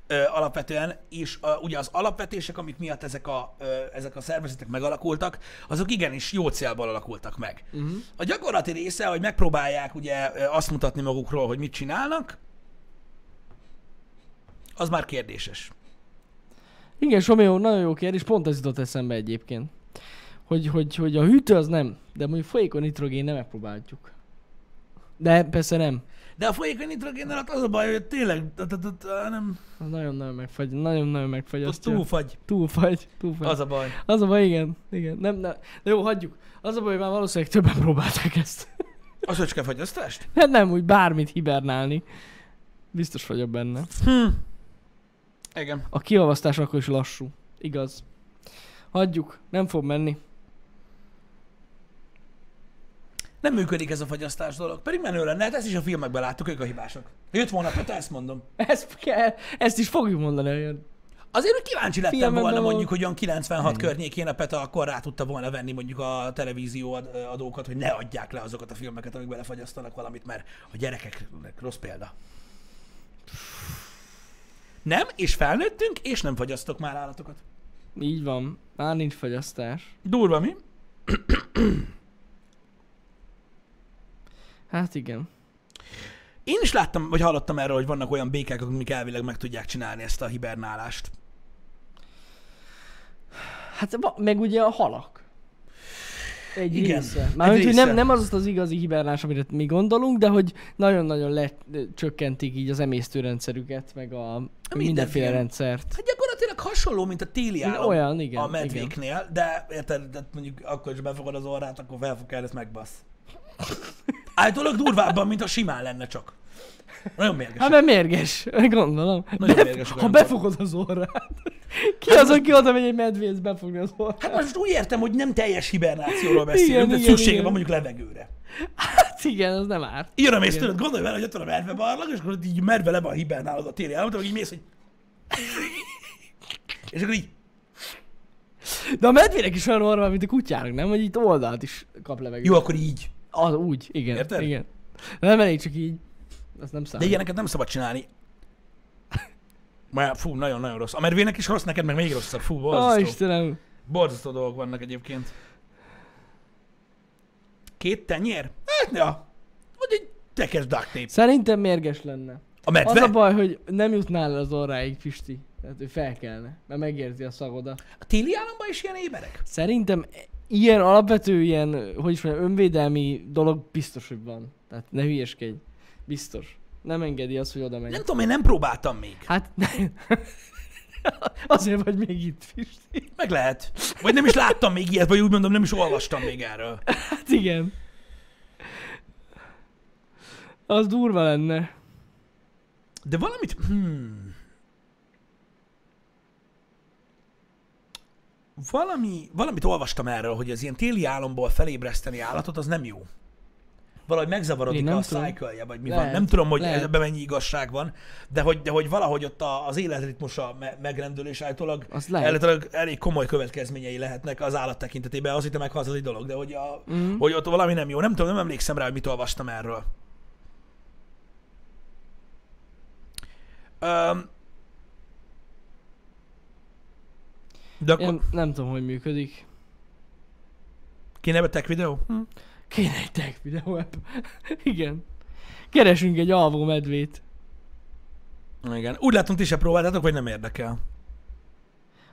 ö, alapvetően, és a, ugye az alapvetések, amik miatt ezek a, ö, ezek a szervezetek megalakultak, azok igenis jó célból alakultak meg. Uh-huh. A gyakorlati része, hogy megpróbálják ugye ö, azt mutatni magukról, hogy mit csinálnak, az már kérdéses. Igen, Someo, nagyon jó kérdés, pont ez jutott eszembe egyébként. Hogy, hogy, hogy a hűtő az nem, de mondjuk folyékony nitrogén nem megpróbáljuk. De persze nem. De a folyékony nitrogén alatt az a baj, hogy tényleg, t- t- t- nem, Az nagyon-nagyon megfagy, nagyon-nagyon az megfagyasztja. túlfagy. Túlfagy, túlfagy. Az a baj. Az a baj, igen. igen. Nem, nem. De jó, hagyjuk. Az a baj, hogy már valószínűleg többen próbálták ezt. Az öcskefagyasztást? Hát nem úgy bármit hibernálni. Biztos vagyok benne. Hm. Igen. A kiavasztás akkor is lassú. Igaz. Hagyjuk, nem fog menni. Nem működik ez a fagyasztás dolog. Pedig menő lenne, hát ezt is a filmekben láttuk, ők a hibások. Ha Jött volna Peta, ezt mondom. Ezt, kell, ezt is fogjuk mondani, olyan. Azért úgy kíváncsi lettem Filmekben volna való- mondjuk, hogy olyan 96 környékén a Peta akkor rá tudta volna venni mondjuk a televízió ad- adókat, hogy ne adják le azokat a filmeket, amik belefagyasztanak valamit, mert a gyerekeknek rossz példa. Nem, és felnőttünk, és nem fagyasztok már állatokat. Így van. Már nincs fagyasztás. Durva, mi? Hát igen. Én is láttam, vagy hallottam erről, hogy vannak olyan békák, akik elvileg meg tudják csinálni ezt a hibernálást. Hát va- meg ugye a halak. Egy Igen, Igen, része. egy Mármint, hogy nem, része. nem az az igazi hibernás, amire mi gondolunk, de hogy nagyon-nagyon lecsökkentik így az emésztőrendszerüket, meg a mindenféle ilyen. rendszert. Hát gyakorlatilag hasonló, mint a téli Mint állam olyan, igen, a igen. medvéknél, de érted, de mondjuk akkor is befogad az orrát, akkor fel fog kell, ezt megbasz. Állítólag durvábban, mint a simán lenne csak. Nagyon mérges. Hát mert mérges, gondolom. Nagyon Bef- mérgesek ha olyankor. befogod az orrát. Ki az, aki oda megy egy medvéhez befogni az orrát? Hát most úgy értem, hogy nem teljes hibernációról beszélünk, Igen, de igen, szüksége igen. van mondjuk levegőre. Hát igen, az nem árt. Jön a mész tőled, gondolj vele, hogy ott van a medve barlang, és akkor így medve le van hibernálod a téli államot, akkor így mész, hogy... És akkor így... De a medvének is olyan orra, van, mint a kutyának, nem? Hogy itt oldalt is kap levegőt. Jó, akkor így. Az úgy, igen. Érted? Igen. Nem elég csak így. Az nem számít. De ilyeneket nem szabad csinálni. Már fú, nagyon-nagyon rossz. A mervének is rossz, neked meg még rosszabb. Fú, Ó, borzasztó. Istenem. borzasztó dolgok vannak egyébként. Két tenyér? Hát, ja. Vagy egy tekes duct tape. Szerintem mérges lenne. A Az medve? a baj, hogy nem jutnál el az orráig, Pisti. Tehát ő fel kellene, mert megérzi a szagodat. A téli államban is ilyen éberek? Szerintem... Ilyen alapvető, ilyen, hogy is mondjam, önvédelmi dolog biztos, hogy van. Tehát ne hülyeskedj. Biztos. Nem engedi azt, hogy oda menj. Nem tudom, én nem próbáltam még. Hát nem. Azért vagy még itt, Pisti. Meg lehet. Vagy nem is láttam még ilyet, vagy úgy mondom, nem is olvastam még erről. Hát igen. Az durva lenne. De valamit... Hmm. Valami, valamit olvastam erről, hogy az ilyen téli álomból felébreszteni állatot, az nem jó. Valahogy megzavarodik Én nem a tudom. cycle vagy mi Lehet, van. Nem tudom, hogy lehet. ebben mennyi igazság van, de hogy, de hogy valahogy ott a, az életritmusa me- megrendülés állítólag, Az lehet. állítólag elég komoly következményei lehetnek az állat tekintetében. Az, hogy te meghalsz, az egy dolog, de hogy, a, Mhm. hogy ott valami nem jó. Nem tudom, nem emlékszem rá, hogy mit olvastam erről. Öm, de akkor Én nem tudom, hogy működik. kéne be tech videó? Hm. Kéne egy tech videó app. Igen. Keresünk egy alvó medvét. Igen. Úgy látom, ti se próbáltátok, vagy nem érdekel.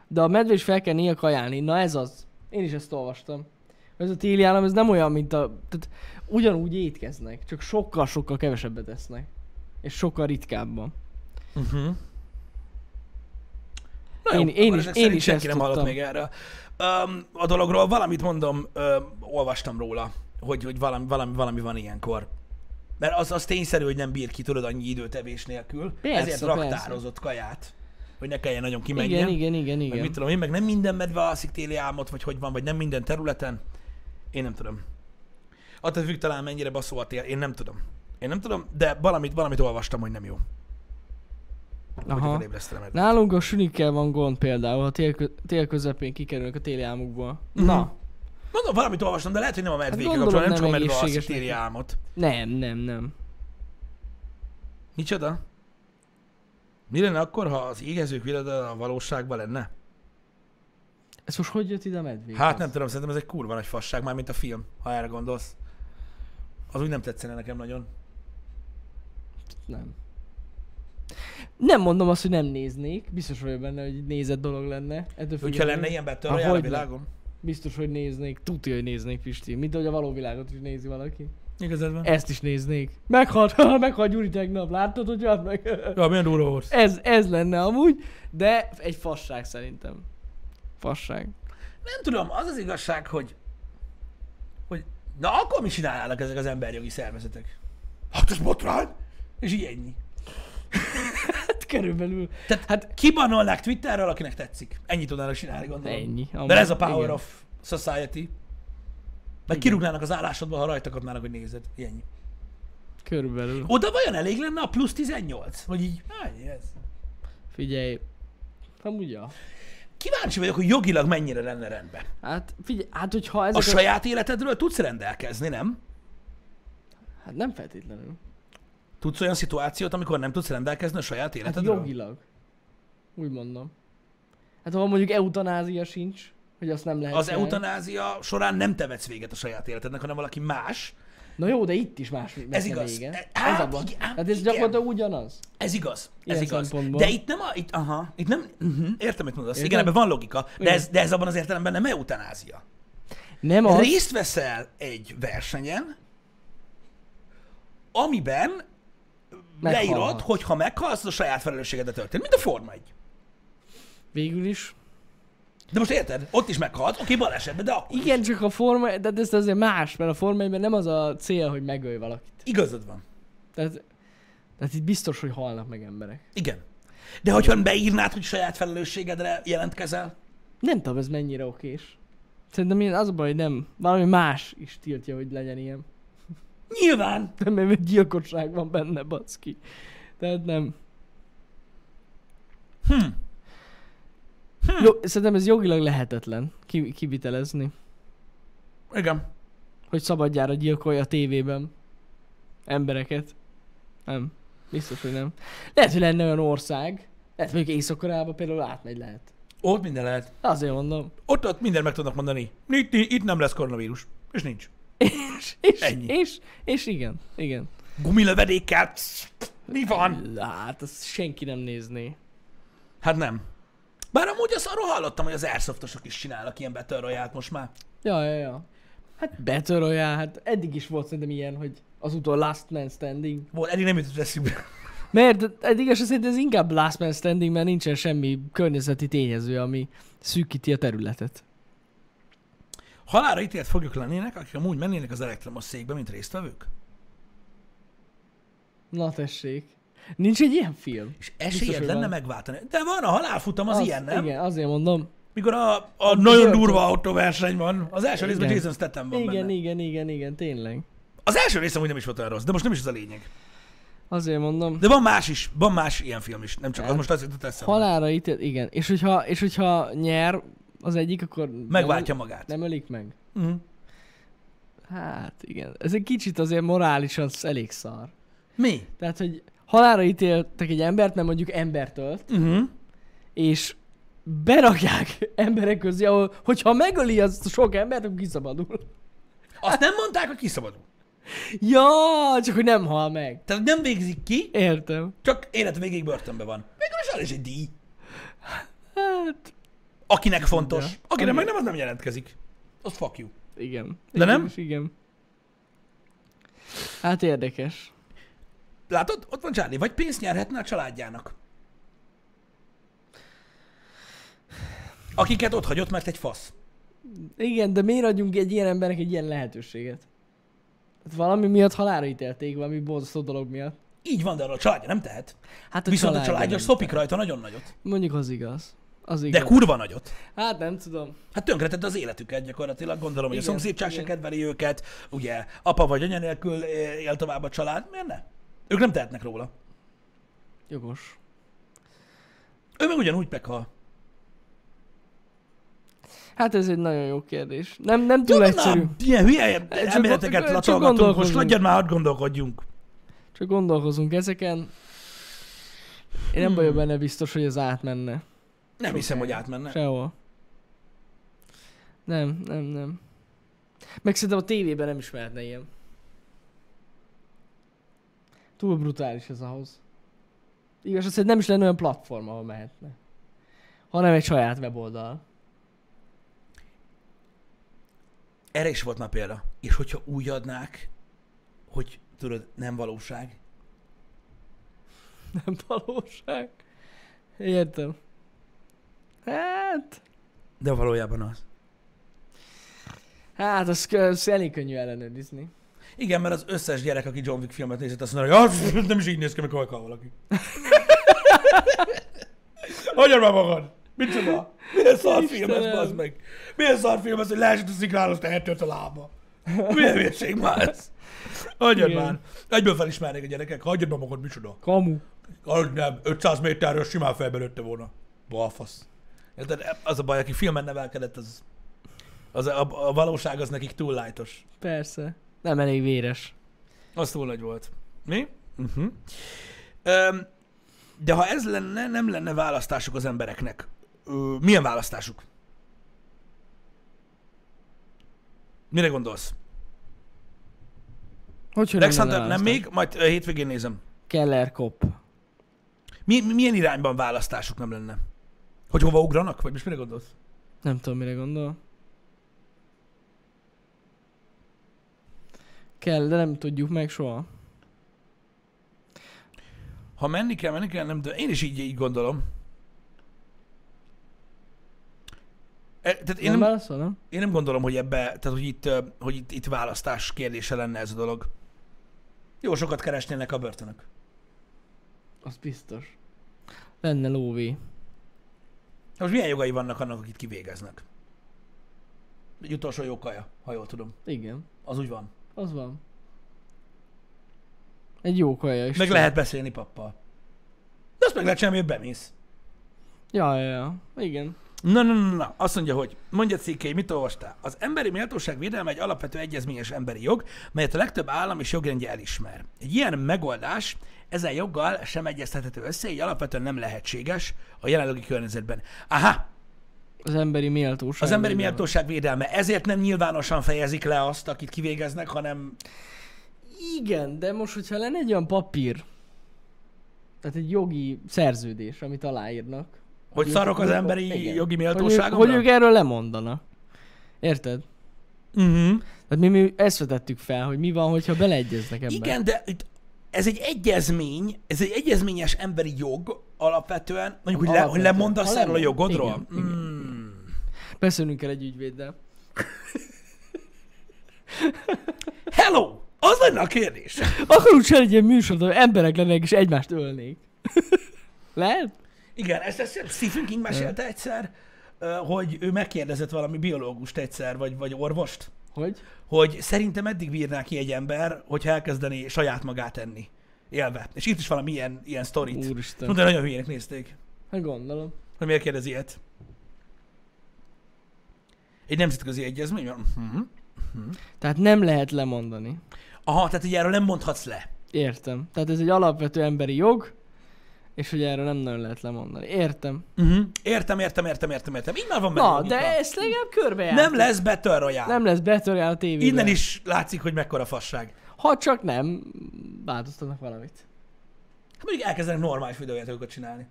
De a medve is fel kell néha kajálni. Na ez az. Én is ezt olvastam. Ez a téli állam, ez nem olyan, mint a... Tehát ugyanúgy étkeznek, csak sokkal-sokkal kevesebbet esznek. És sokkal ritkábban. Uh-huh. Na Én- én akkor is- ezek én szerint is senki nem ezt hallott tudtam. még erről. Öm, a dologról valamit mondom, öm, olvastam róla, hogy, hogy valami, valami, valami van ilyenkor. Mert az, az tényszerű, hogy nem bír ki, tudod, annyi időt evés nélkül. Persze, ezért persze. raktározott kaját, hogy ne kelljen nagyon kimenjen. Igen, igen, igen, Meg mit igen. tudom én, meg nem minden medve alszik téli álmot, vagy hogy van, vagy nem minden területen. Én nem tudom. Attól függ talán mennyire baszó a tél, én nem tudom. Én nem tudom, de valamit, valamit olvastam, hogy nem jó. Hogy Aha. felébresztelem erre. Nálunk a sünikkel van gond például, ha tél, kö- tél közepén kikerülnek a téli álmokból. Mhm. Na. Mondom, valamit olvastam, de lehet, hogy nem a medvékkel gondolom, kapcsolatban, Hát nem csak a nem medve alszik, egészséges téli neki. álmot. Nem, nem, nem. Micsoda? Mi lenne akkor, ha az égezők világa a valóságban lenne? Ez most hogy jött ide a medvék? Hát nem tudom, szerintem ez egy kurva nagy fasság, már mint a film, ha erre gondolsz. Az úgy nem tetszene nekem nagyon. Nem. Nem mondom azt, hogy nem néznék. Biztos vagyok benne, hogy nézett dolog lenne. Ettől Hogyha függetlenül. lenne ilyen Battle Há, Royale a hogyne. világon? Biztos, hogy néznék. Tudja, hogy néznék, Pisti. Mint ahogy a való világot is nézi valaki. Igazad van. Ezt is néznék. Meghalt, ha, meghalt Gyuri tegnap. Láttad, hogy jött meg? Ja, milyen durva volt. ez, ez lenne amúgy, de egy fasság szerintem. Fasság. Nem tudom, az az igazság, hogy... hogy na akkor mi csinálnának ezek az emberjogi szervezetek? Hát ez botrány! És így ennyi. Hát körülbelül. Tehát hát kibanolnák Twitterről, akinek tetszik. Ennyit tudnának csinálni, gondolom. Ennyi. De ez a power igen. of society. Meg kirúgnának az állásodba, ha rajta kapnának, hogy nézed. Ennyi. Körülbelül. Oda vajon elég lenne a plusz 18? Vagy így, hány ez? Figyelj. Amúgy ja. Kíváncsi vagyok, hogy jogilag mennyire lenne rendben. Hát figyelj, hát hogyha ezek... A saját életedről tudsz rendelkezni, nem? Hát nem feltétlenül. Tudsz olyan szituációt, amikor nem tudsz rendelkezni a saját Hát életedről? jogilag. Úgy mondom. Hát ha mondjuk eutanázia sincs, hogy azt nem lehet Az csinálni. eutanázia során nem te vetsz véget a saját életednek, hanem valaki más. Na jó, de itt is más messze igaz. Vége. E- Ez hát a baj. igen, Hát ez igen. gyakorlatilag ugyanaz. Ez igaz. Ez Ilyen igaz. szempontból. De itt nem a... Itt, aha, itt nem... Uh-huh, értem, mit mondasz. Igen, Érted? ebben van logika, de Igen. ez, de ez abban az értelemben nem eutanázia. Nem az. Részt veszel egy versenyen, amiben Meghalhat. leírod, hogy ha meghalsz, az a saját felelősségedet történt. Mint a Forma 1. Végül is. De most érted? Ott is meghalt, oké, balesetben, de akkor Igen, csak a forma, de ez azért más, mert a forma 1-ben nem az a cél, hogy megölj valakit. igazad van. Tehát, tehát itt biztos, hogy halnak meg emberek. Igen. De hogyha beírnád, hogy saját felelősségedre jelentkezel, Nem tudom, ez mennyire okés. Szerintem én az a baj, hogy nem. Valami más is tiltja, hogy legyen ilyen. nyilván Nem, mert gyilkosság van benne, baszki. Tehát nem. Hm. Hm. Jó, szerintem ez jogilag lehetetlen ki- kivitelezni, Igen. hogy szabadjára gyilkolja a tévében embereket. Nem. Biztos, hogy nem. Lehet, hogy lenne olyan ország, lehet mondjuk észak például átmegy lehet. Ott minden lehet. Azért mondom. Ott, ott minden meg tudnak mondani. Itt, itt nem lesz koronavírus. És nincs. És, és, Ennyi. és, és igen, igen. Gumilövedékkel. Mi van? Hát, azt senki nem nézné. Hát nem. Bár amúgy azt arról hallottam, hogy az airsoftosok is csinálnak ilyen Battle royale most már. Ja, ja, ja. Hát Battle Royale, hát eddig is volt szerintem ilyen, hogy az utol Last Man Standing. Volt, eddig nem jutott eszünkbe. Mert eddig is szerint ez inkább Last Man Standing, mert nincsen semmi környezeti tényező, ami szűkíti a területet. Halára ítélt foglyok lennének, akik amúgy mennének az elektromos székbe, mint résztvevők? Na tessék. Nincs egy ilyen film? És Biztos, esélyed hogy lenne van. megváltani. De van, a halálfutam az, az ilyen, nem? Igen. Igen, azért mondom. Mikor a, a nagyon Gyilkos. durva autóverseny van. Az első részben Igen. Jason Statham van igen, benne. igen, igen, igen, tényleg. Az első részem úgy nem is volt olyan rossz, de most nem is ez a lényeg. Azért mondom. De van más is, van más ilyen film is, nem csak az Hát, most azért jutott eszembe. Halára ítélt, igen. És hogyha, és hogyha nyer az egyik, akkor... nem Megváltja magát. öl- Nem ölik meg. Mhm. Hát igen. Ez egy kicsit azért morálisan elég szar. Mi? Tehát, hogy halára ítéltek egy embert, mert mondjuk embert ölt, Uh-huh. és berakják emberek közé, ahol, hogyha megöli az sok embert, akkor kiszabadul. Azt nem mondták, hogy kiszabadul. Ja, csak hogy nem hal meg. Tehát nem végzik ki, Értem. csak élet végig börtönbe van. Végül is arra is egy díj. Hát, Akinek fontos. Ja. Akinek Igen. meg nem, az nem jelentkezik. Az fuck you. igen. De nem? Végülis igen. Hát érdekes. Látod? Ott van Charlie. Vagy pénzt nyerhetne a családjának. Akiket ott hagyott, mert egy fasz. Igen, de miért adjunk egy ilyen embernek egy ilyen lehetőséget? Hát valami miatt halálra ítélték, valami borzasztó dolog miatt. Így van, de arra a családja nem tehet. Hát Viszont a családja családja nem. szopik rajta nagyon nagyot. Mondjuk az igaz. Az De igaz. kurva nagyot. hát nem tudom. Hát tönkretett az életüket gyakorlatilag, gondolom, hogy a Igen, szomszédság se igen. kedveli őket, ugye apa vagy anya nélkül eh, él tovább a család, miért ne? Ők nem tehetnek róla. Jogos. Ő meg ugyanúgy meghal. Hát ez egy nagyon jó kérdés. Nem, nem túl Tudom, egyszerű. Ilyen hülye csak- elméleteket csak latolgatunk, most gondolkozunk. legyen már, hadd gondolkodjunk. Csak gondolkozunk ezeken. Én nem Hmm. vagyok benne biztos, hogy ez átmenne. Nem hiszem, hogy átmenne. Sehol. Nem, nem, nem. Meg szerintem a tévében nem is mehetne ilyen. Túl brutális ez ahhoz. Igaz, azt nem is lenne olyan platform, ahol mehetne. Hanem egy saját weboldal. Erre is volt már példa. És hogyha úgy adnák, hogy tudod, nem valóság, Nem valóság. Értem. Hát... de valójában az. Hát, az, kö- az elég könnyű ellenőrizni. Igen, mert az összes gyerek, aki John Wick filmet nézett, azt mondja, hogy "Ah, nem is így néz ki, amikor akar valaki. Hagyjad már magad! Micsoda? Milyen szar film ez, Istenem. bazd meg? Milyen szar film ez, hogy leesett a szikláról, aztán eltört a lába? Milyen vérség már ez? Hagyjad Igen. már. Egyből felismernék a gyerekek, hagyjad már magad, micsoda? Kamu. Ahogy nem, 500 méterről simán felbelőtte volna. Balfasz. Érted? Az a baj, aki filmen nevelkedett, az, az a, a, valóság az nekik túl lájtos. Persze. Nem elég véres. Az túl nagy volt. Mi? Uh-huh. Öm, de ha ez lenne, nem lenne választásuk az embereknek. Ö, milyen választásuk? Mire gondolsz? Hogy Rex Hunter nem még, majd ö, hétvégén nézem. Keller Kopp. Mi, mi- milyen irányban választásuk nem lenne? Hogy hova ugranak? Vagy most mire gondolsz? Nem tudom, mire gondol. Kell, de nem tudjuk meg soha. Ha menni kell, menni kell, nem tudom. Én is így, így gondolom. E, tehát én nem, nem, válaszol, nem? én nem gondolom, hogy ebbe, tehát hogy itt, ö, hogy itt, itt választás kérdése lenne ez a dolog. Jó sokat keresnének a börtönök. Az biztos. Lenne lóvé. Na Most milyen jogai vannak annak, akit kivégeznek? Egy utolsó jó kaja, ha jól tudom. Igen, Az úgy van. az van. Egy jó kaja is. Meg csak- lehet beszélni pappal. De azt meg lehet csinálni, hogy bemész. Ja, ja, ja. Igen. Na, na, na, na, azt mondja, hogy mondja cikkei, mit olvastál? Az emberi méltóság védelme egy alapvető egyezményes emberi jog, melyet a legtöbb állam és jogrendje elismer. Egy ilyen megoldás ezen joggal sem egyeztethető össze, így alapvetően nem lehetséges a jelenlegi környezetben. Aha, Az emberi méltóság. az emberi védelme. méltóság védelme ezért nem nyilvánosan fejezik le azt, akit kivégeznek, hanem Igen, de most, hogyha lenne egy olyan papír, tehát egy jogi szerződés, amit aláírnak. hogy ők- szarok az ők- emberi igen. jogi Hogy, ők- méltóságomra. hogy ők erről lemondanak. Érted? uh-huh. Tehát mi, mi ezt vetettük fel, hogy mi van, hogyha beleegyeznek ebben. Igen, de itt ez egy egyezmény, ez egy egyezményes emberi jog alapvetően, mondjuk, hogy, le, hogy Alapvetően. lemondasz Ha erről a lemond- jogodról. igen, igen, Mm. Beszélnünk kell egy ügyvéddel. Hello! Az lenne a kérdés. Akarunk csinálni egy ilyen műsort, ahol emberek lennének és egymást ölnék. Lehet? Igen, ezt, ezt Stephen King mesélte egyszer, ö, hogy ő megkérdezett valami biológust egyszer, vagy, vagy orvost, Hogy? hogy szerintem eddig bírná ki egy ember, hogyha elkezdené saját magát enni. Élve. És itt is valami ilyen, ilyen sztorit. Úristen. Mondta, nagyon hülyének nézték. Hát gondolom. Hogy miért kérdez ilyet? Egy nemzetközi egyezmény van? Mhm. Tehát nem lehet lemondani. Aha, tehát így erről nem mondhatsz le. Értem. Tehát ez egy alapvető emberi jog, és hogy erről nem nagyon lehet lemondani. Értem. Uh-huh. Értem, értem, értem, értem, értem. Így már van benne Na, logika. de ezt legalább körbe Nem lesz Battle Royale. Nem lesz betörje a tévébe. Innen is látszik, hogy mekkora fasság. Ha csak nem változtatnak valamit. Hát mondjuk elkezdenek normális videójátékokat csinálni.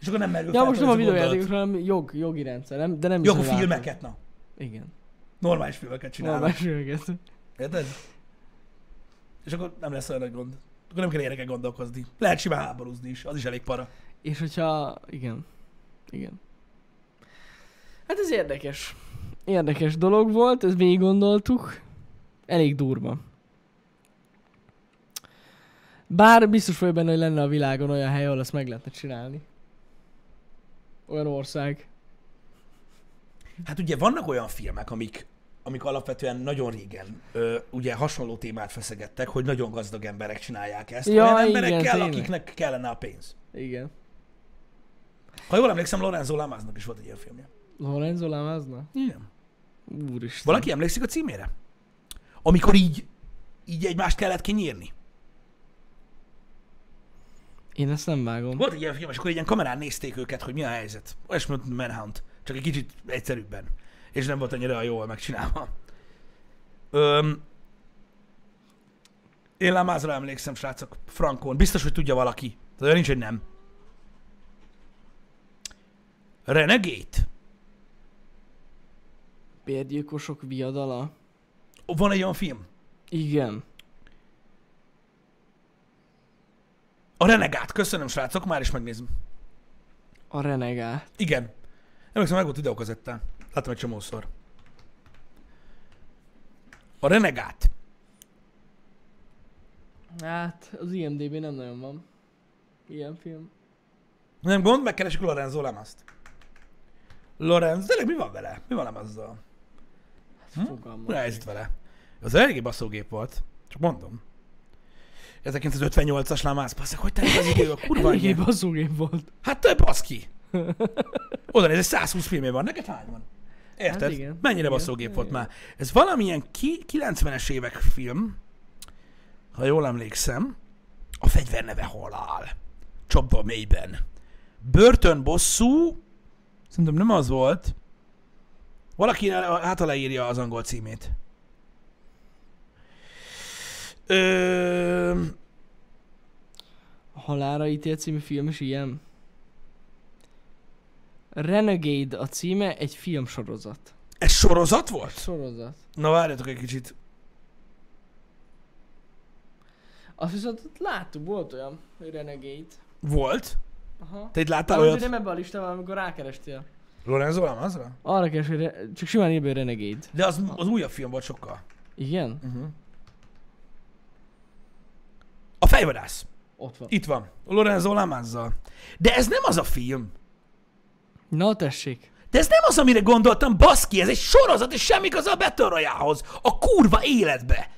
És akkor nem merül Ja, fel most ez nem a gondolat. videójátékokról, hanem jog, jogi rendszer. Nem, de Jó, nem is akkor az által. filmeket, na. Igen. Normális filmeket csinálnak. Normális joget. Érted? És akkor nem lesz olyan nagy gond. Akkor nem kell ilyeneket gondolkozni. Lehet simán háborúzni is, az is elég para. És hogyha... Igen. Igen. Hát ez érdekes. Érdekes dolog volt, ezt végig gondoltuk. Elég durva. Bár biztos vagy benne, hogy lenne a világon olyan hely, ahol ezt meg lehetne csinálni. Olyan ország. Hát ugye vannak olyan filmek, amik, amik alapvetően nagyon régen ö, ugye hasonló témát feszegettek, hogy nagyon gazdag emberek csinálják ezt. Ja, olyan igen, emberekkel, tényleg. akiknek kellene a pénz. Igen. Ha jól emlékszem, Lorenzo Lamáznak is volt egy ilyen filmje. Lorenzo Lamazna? Igen. Úristen. Valaki emlékszik a címére? Amikor így, így egymást kellett kinyírni. Én ezt nem vágom. Volt egy ilyen film, és akkor egy ilyen kamerán nézték őket, hogy mi a helyzet. Olyasmi, mint Manhunt, csak egy kicsit egyszerűbben. És nem volt annyira jól megcsinálva. Öm, én Lámázra emlékszem, srácok, Frankon. Biztos, hogy tudja valaki. Tehát olyan nincs, hogy nem. Renegade. Bérgyilkosok viadala? Van egy olyan film. Igen. A Renegát. Köszönöm, srácok, már is megnézem. A renegá. Igen. Emlékszem, meg volt videókazettán. Láttam egy csomószor. A Renegát. Hát, az IMDB nem nagyon van. Ilyen film. Nem gond, megkeresik Lorenzo Lamaszt. Lorenzo, tényleg mi van vele? Mi van Lamazzal? Hát Hm? fogalmam. Mi a helyzet vele? Az eléggé baszógép volt, csak mondom. 1958-as Lamász, basszak, hogy telik az idő, a kurva Eléggé anyja. baszógép volt. Hát te basz ki! Oda néz, egy 120 filmje van, neked hány van? Érted? Hát igen, Mennyire igen, baszógép volt igen. már? Ez valamilyen ki- 90-es évek film, ha jól emlékszem, a fegyver neve halál. Csapva a mélyben. Börtön bosszú, szerintem nem az volt. Valaki el- hát leírja az angol címét. Ö... A Halára ítélt című film is ilyen. Renegade a címe egy filmsorozat. Ez sorozat volt? Sorozat. Na várjatok egy kicsit. Azt viszont ott láttuk, volt olyan, hogy Renegade. Volt? Aha. Te itt láttál Talán olyat? nem ebben a listában, amikor rákerestél. Lorenzo Lamazra? Arra keres, hogy re- csak simán írja, hogy Renegade. De az, az újabb film volt sokkal. Igen? Uh-huh. A fejvadász. Ott van. Itt van. Lorenzo Lamazzal. De ez nem az a film. Na tessék. De ez nem az, amire gondoltam, baszki, ez egy sorozat, és semmi köze a Battle Royale-hoz. A kurva életbe.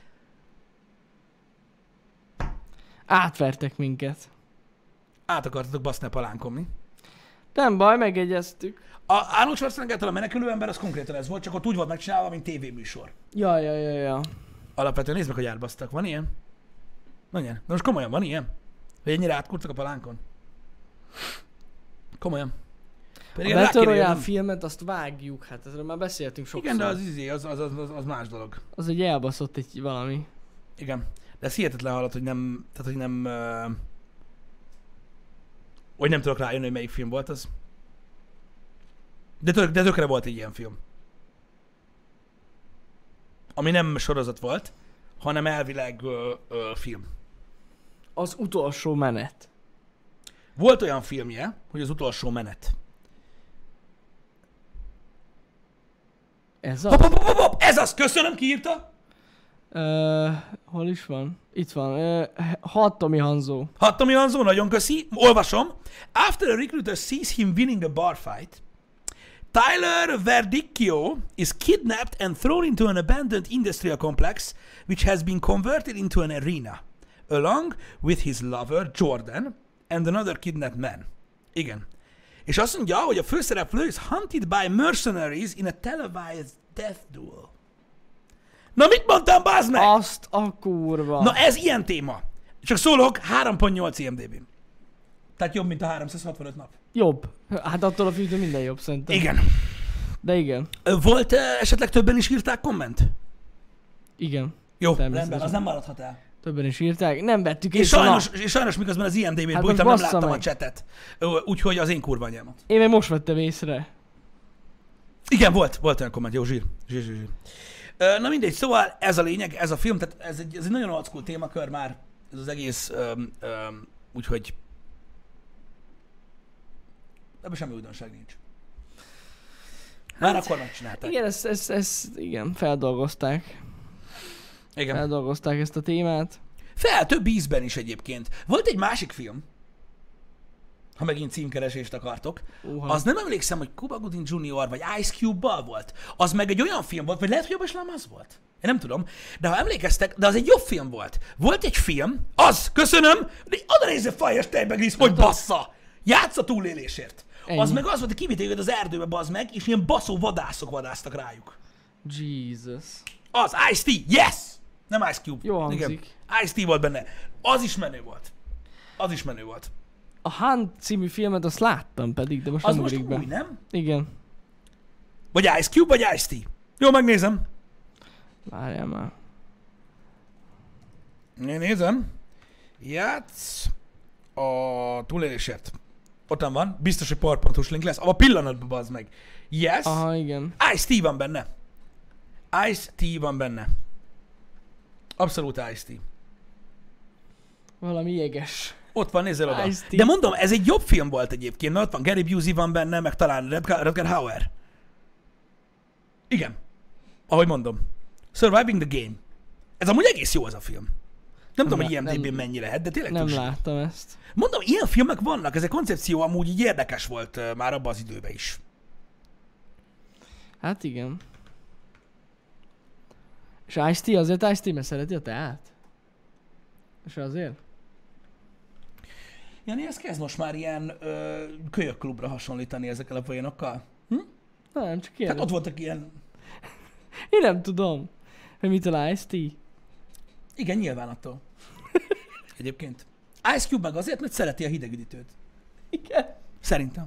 Átvertek minket. Át akartatok baszni a palánkomni. Nem baj, megegyeztük. A Arnold Schwarzenegger a menekülő ember, az konkrétan ez volt, csak ott úgy volt megcsinálva, mint tévéműsor. Ja, ja, ja, ja. Alapvetően nézd meg, hogy árbasztak. Van ilyen? Nagyon. De most komolyan, van ilyen? Hogy ennyire átkurtak a palánkon? Komolyan. A Pedig rá Battle kéne Royale jönnöm. filmet azt vágjuk, hát ezről már beszéltünk sokszor. Igen, de az, izé, az, az, az, az, az más dolog. az egy elbaszott egy valami. Igen. De ez hihetetlen hallat, hogy nem, tehát, hogy nem, uh, hogy nem tudok rájönni, hogy melyik film volt az. De, tök, de tökre volt egy ilyen film. Ami nem sorozat volt, hanem elvileg uh, uh, film. Az utolsó menet. Volt olyan filmje, hogy az utolsó menet. Ez Hopp, az? hopp, hopp, hopp, hopp, ez az, köszönöm, kiírta. Ö, hol is van? Itt van. Ö, hat Tomi Hanzó. Hattomi Hanzó, nagyon köszi. Olvasom. After a recruiter sees him winning a bar fight, Tyler Verdicchio is kidnapped and thrown into an abandoned industrial complex, which has been converted into an arena, along with his lover Jordan and another kidnapped man. Igen. És azt mondja, hogy a főszereplő is hunted by mercenaries in a televised death duel. Na mit mondtam, bazd meg? Azt a kurva. Na e- ez ilyen téma. Csak szólok, 3.8 IMDb-n. Tehát jobb, mint a 365 nap. Jobb. Hát attól a filmtől minden jobb szerintem. Igen. De igen. Ö, Volt ö, esetleg többen is írták komment? Igen. Jó, Természetesen. rendben, az nem maradhat el. Többen is írták. Nem vettük És észre, na. sajnos, és sajnos miközben az IMDb-t hát Hát most bújtam, nem bassza láttam meg. a csetet. Ö, Úgyhogy az én kurva anyámat. Én még most vettem észre. Igen, volt, volt olyan komment, jó, zsír. zsír, zsír, zsír. Ö, Na mindegy, szóval ez a lényeg, ez a film, tehát ez egy, ez egy nagyon old school témakör már, ez az egész, öm, öm, úgyhogy ebben semmi újdonság nincs. Már hát, akkor megcsinálták. Igen, ezt, ezt, ezt igen, feldolgozták. Igen. Feldolgozták ezt a témát. Fel, több ízben is egyébként. Volt egy másik film, ha megint címkeresést akartok, Uha. az nem emlékszem, hogy Cuba Gooding Jr. vagy Ice Cube-bal volt. Az meg egy olyan film volt, vagy lehet, hogy jobb eslám az volt. Én nem tudom. De ha emlékeztek, de az egy jobb film volt. Volt egy film, az, köszönöm, de oda nézze Fires Tejbe Gris, hogy bassza! Játsz a túlélésért. Ennyi. Az meg az volt, hogy kivitték őket az erdőbe, bazd meg, és ilyen baszó vadászok vadásztak rájuk. Jesus. Az, Ice-T, yes! Nem Ice Cube. Jó hangzik. Igen. Ice-T volt benne. Az is menő volt. Az is menő volt. A Hunt című filmet azt láttam pedig, de most Az nem most ugrik be. új, nem? Igen. Vagy Ice Cube, vagy Ice-T. Jó, megnézem. Várjál már. Én nézem. Játsz a túlélésért. Ottan van. Biztos, hogy powerpoint link lesz. A pillanatban bazd meg. Yes. Aha, igen. Ice-T van benne. Ice-T van benne. Abszolút Ice-T. Valami jeges. Ott van, nézel oda. Ice-T. De mondom, ez egy jobb film volt egyébként. Na, ott van Gary Busey van benne, meg talán Rutger, Rutger Hauer. Igen. Ahogy mondom. Surviving the Game. Ez amúgy egész jó az a film. Nem, tudom, hogy lá- nem- IMDb-n mennyi lehet, de tényleg Nem tud- láttam ezt. Mondom, ilyen filmek vannak, ez a koncepció amúgy így érdekes volt ö, már abban az időben is. Hát igen. És Ice-T azért Ice-T, mert szereti a teát? És azért? Jani, ez kezd most már ilyen ö, kölyökklubra hasonlítani ezekkel a poénokkal. Hm? Nem, Tehát csak kérdez. ott voltak ilyen... Én nem tudom, hogy mitől Ice-T. Igen, nyilván attól. Egyébként. Ice Cube meg azért, mert szereti a hidegüdítőt. Igen. Szerintem.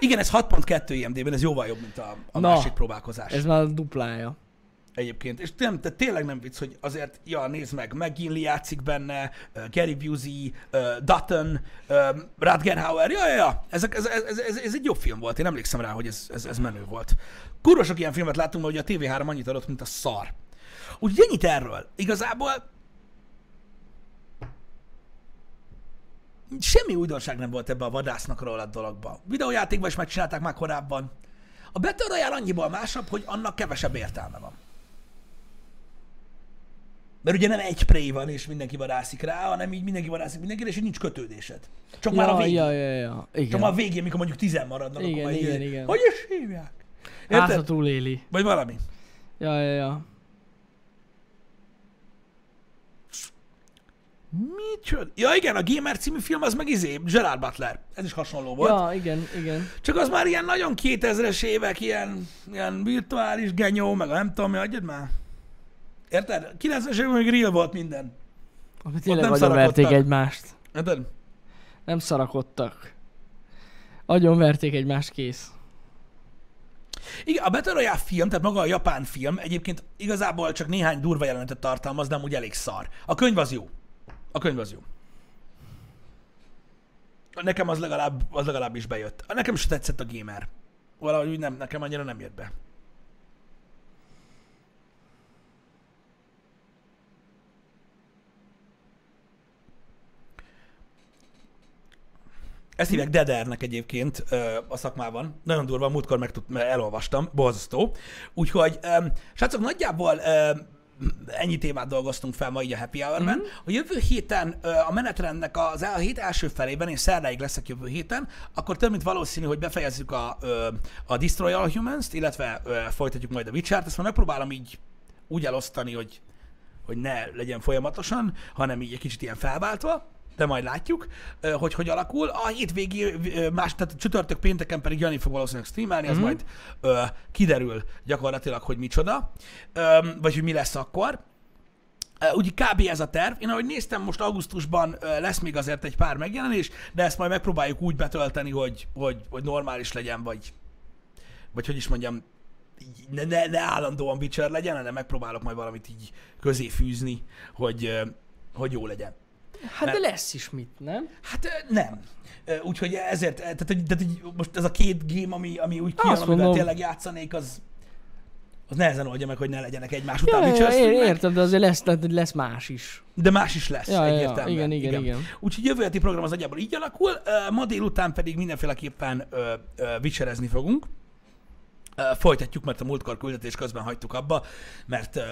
Igen, ez 6.2 IMD-ben, ez jóval jobb, mint a, a Na, másik próbálkozás. Ez már a duplája. Egyébként. És nem, te tényleg nem vicc, hogy azért, ja, nézd meg, McGinley játszik benne, uh, Gary Busey, uh, Dutton, um, Rutger Hauer, ja, ja, ja. Ezek, ez, ez, ez, ez, egy jobb film volt, én emlékszem rá, hogy ez, ez, ez menő volt. Kurva sok ilyen filmet láttunk, mert ugye a TV3 annyit adott, mint a szar. Úgyhogy ennyit erről. Igazából semmi újdonság nem volt ebbe a vadásznak róla dologba. Videójátékban is megcsinálták már korábban. A Battle Royale annyiból másabb, hogy annak kevesebb értelme van. Mert ugye nem egy prey van, és mindenki varászik rá, hanem így mindenki varászik mindenkire, és így nincs kötődésed. Csak már a Ja, végén. ja, ja, ja. Csak Igen. már a végén, mikor mondjuk tizen maradnak, Igen, akkor már így- igen, igen. Hogy is hívják? Érted? Hátra túléli. Vagy valami. Ja, ja, ja. Micsoda? Ja igen, a Gamer című film az meg izé, Gerard Butler. Ez is hasonló volt. Ja, igen, igen. Csak az már ilyen nagyon 2000-es évek, ilyen, ilyen virtuális genyó, meg a nem tudom mi, adjad már. Érted? 90-es években még real volt minden. Ami tényleg nem nagyon verték szarakodtak. egymást. Érted? Nem szarakodtak. Agyon verték egymást, kész. Igen, a Battle Royale film, tehát maga a japán film egyébként igazából csak néhány durva jelenetet tartalmaz, de amúgy elég szar. A könyv az jó. A könyv az jó. Nekem az legalább, az legalább is bejött. Nekem is tetszett a gamer. Valahogy úgy nem, nekem annyira nem jött be. Ezt hívják Dedernek egyébként ö, a szakmában. Nagyon durva, múltkor meg tud, elolvastam, borzasztó. Úgyhogy, ö, srácok, nagyjából ö, ennyi témát dolgoztunk fel ma így a Happy Hour-ben. A jövő héten ö, a menetrendnek az el- a hét első felében, és szerdáig leszek jövő héten, akkor több mint valószínű, hogy befejezzük a, ö, a Destroy All Humans-t, illetve ö, folytatjuk majd a Witcher-t. Ezt már megpróbálom így úgy elosztani, hogy hogy ne legyen folyamatosan, hanem így egy kicsit ilyen felváltva, de majd látjuk, ö, hogy hogy alakul. A hétvégi, ö, más, tehát csütörtök pénteken pedig Jani fog valószínűleg streamelni, az mm-hmm. majd ö, kiderül gyakorlatilag, hogy micsoda, ö, vagy hogy mi lesz akkor. Ö, Úgy kb. ez a terv. Én ahogy néztem, most augusztusban ö, lesz még azért egy pár megjelenés, de ezt majd megpróbáljuk úgy betölteni, hogy, hogy, hogy normális legyen, vagy, vagy hogy is mondjam, így ne, ne, ne állandóan Witcher legyen, hanem megpróbálok majd valamit így közé fűzni, hogy, ö, hogy jó legyen. Hát de lesz is mit, nem? Hát ö, nem. Ö, Úgyhogy ezért, ö, tehát, hogy- tehát hogy most ez a két game, ami, ami úgy kijön, Azt amivel mondom. tényleg játszanék, az, az nehezen oldja meg, hogy ne legyenek egymás Ja, után ja, Witcher ja, ér- streamek. értem, de azért lesz, tehát hogy lesz más is. De más is lesz, Ja, ja, ja. egyértelműen. Igen, igen, igen. Úgyhogy jövő heti program az nagyjából így alakul. Ö, Ma délután pedig mindenféleképpen ö, ö, vicserezni fogunk. Ö, Folytatjuk, mert a múltkor küldetés közben hagytuk abba, mert ö,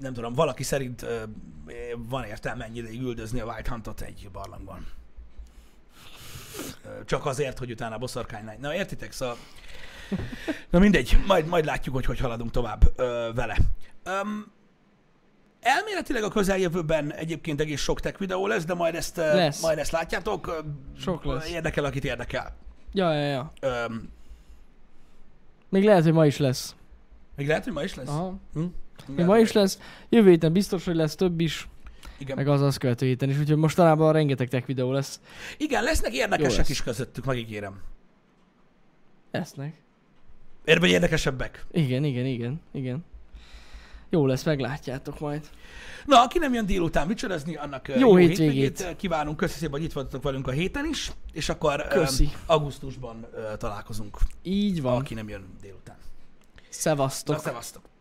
nem tudom, valaki szerint ö, van értelme ennyi ideig üldözni a White Huntot egy barlangban. Ö, Csak azért, hogy utána a boszorkány Na, értitek? Szóval Na mindegy, majd, majd látjuk, hogy hogy haladunk tovább ö, vele. Öm, elméletileg a közeljövőben egyébként egész sok tech videó lesz, de majd ezt, ö, Lesz. majd ezt látjátok. Ö, Sok lesz. Érdekel, akit érdekel. Ja, ja, ja. Öm, Még lehet, hogy ma is lesz. még lehet, hogy ma is lesz? Aha. Hm? Még ma is lesz. Jövő héten biztos, hogy lesz több is, Igen. meg az az követő héten is, úgyhogy mostanában rengeteg tech videó lesz. Igen, lesznek Jó érdekesek lesz. is közöttük, megígérem. Lesznek. Érve, hogy érdekesebbek. Igen, igen, igen, igen. Jó lesz, meglátjátok majd. Na, aki nem jön délután vicsorezni, annak ö, Jó hétvégét. kívánunk. Köszi szépen, hogy itt voltatok velünk a héten is, és akkor ö, Köszi. augusztusban ö, találkozunk, Így van. aki nem jön délután. Na, Szevasztok. szevasztok!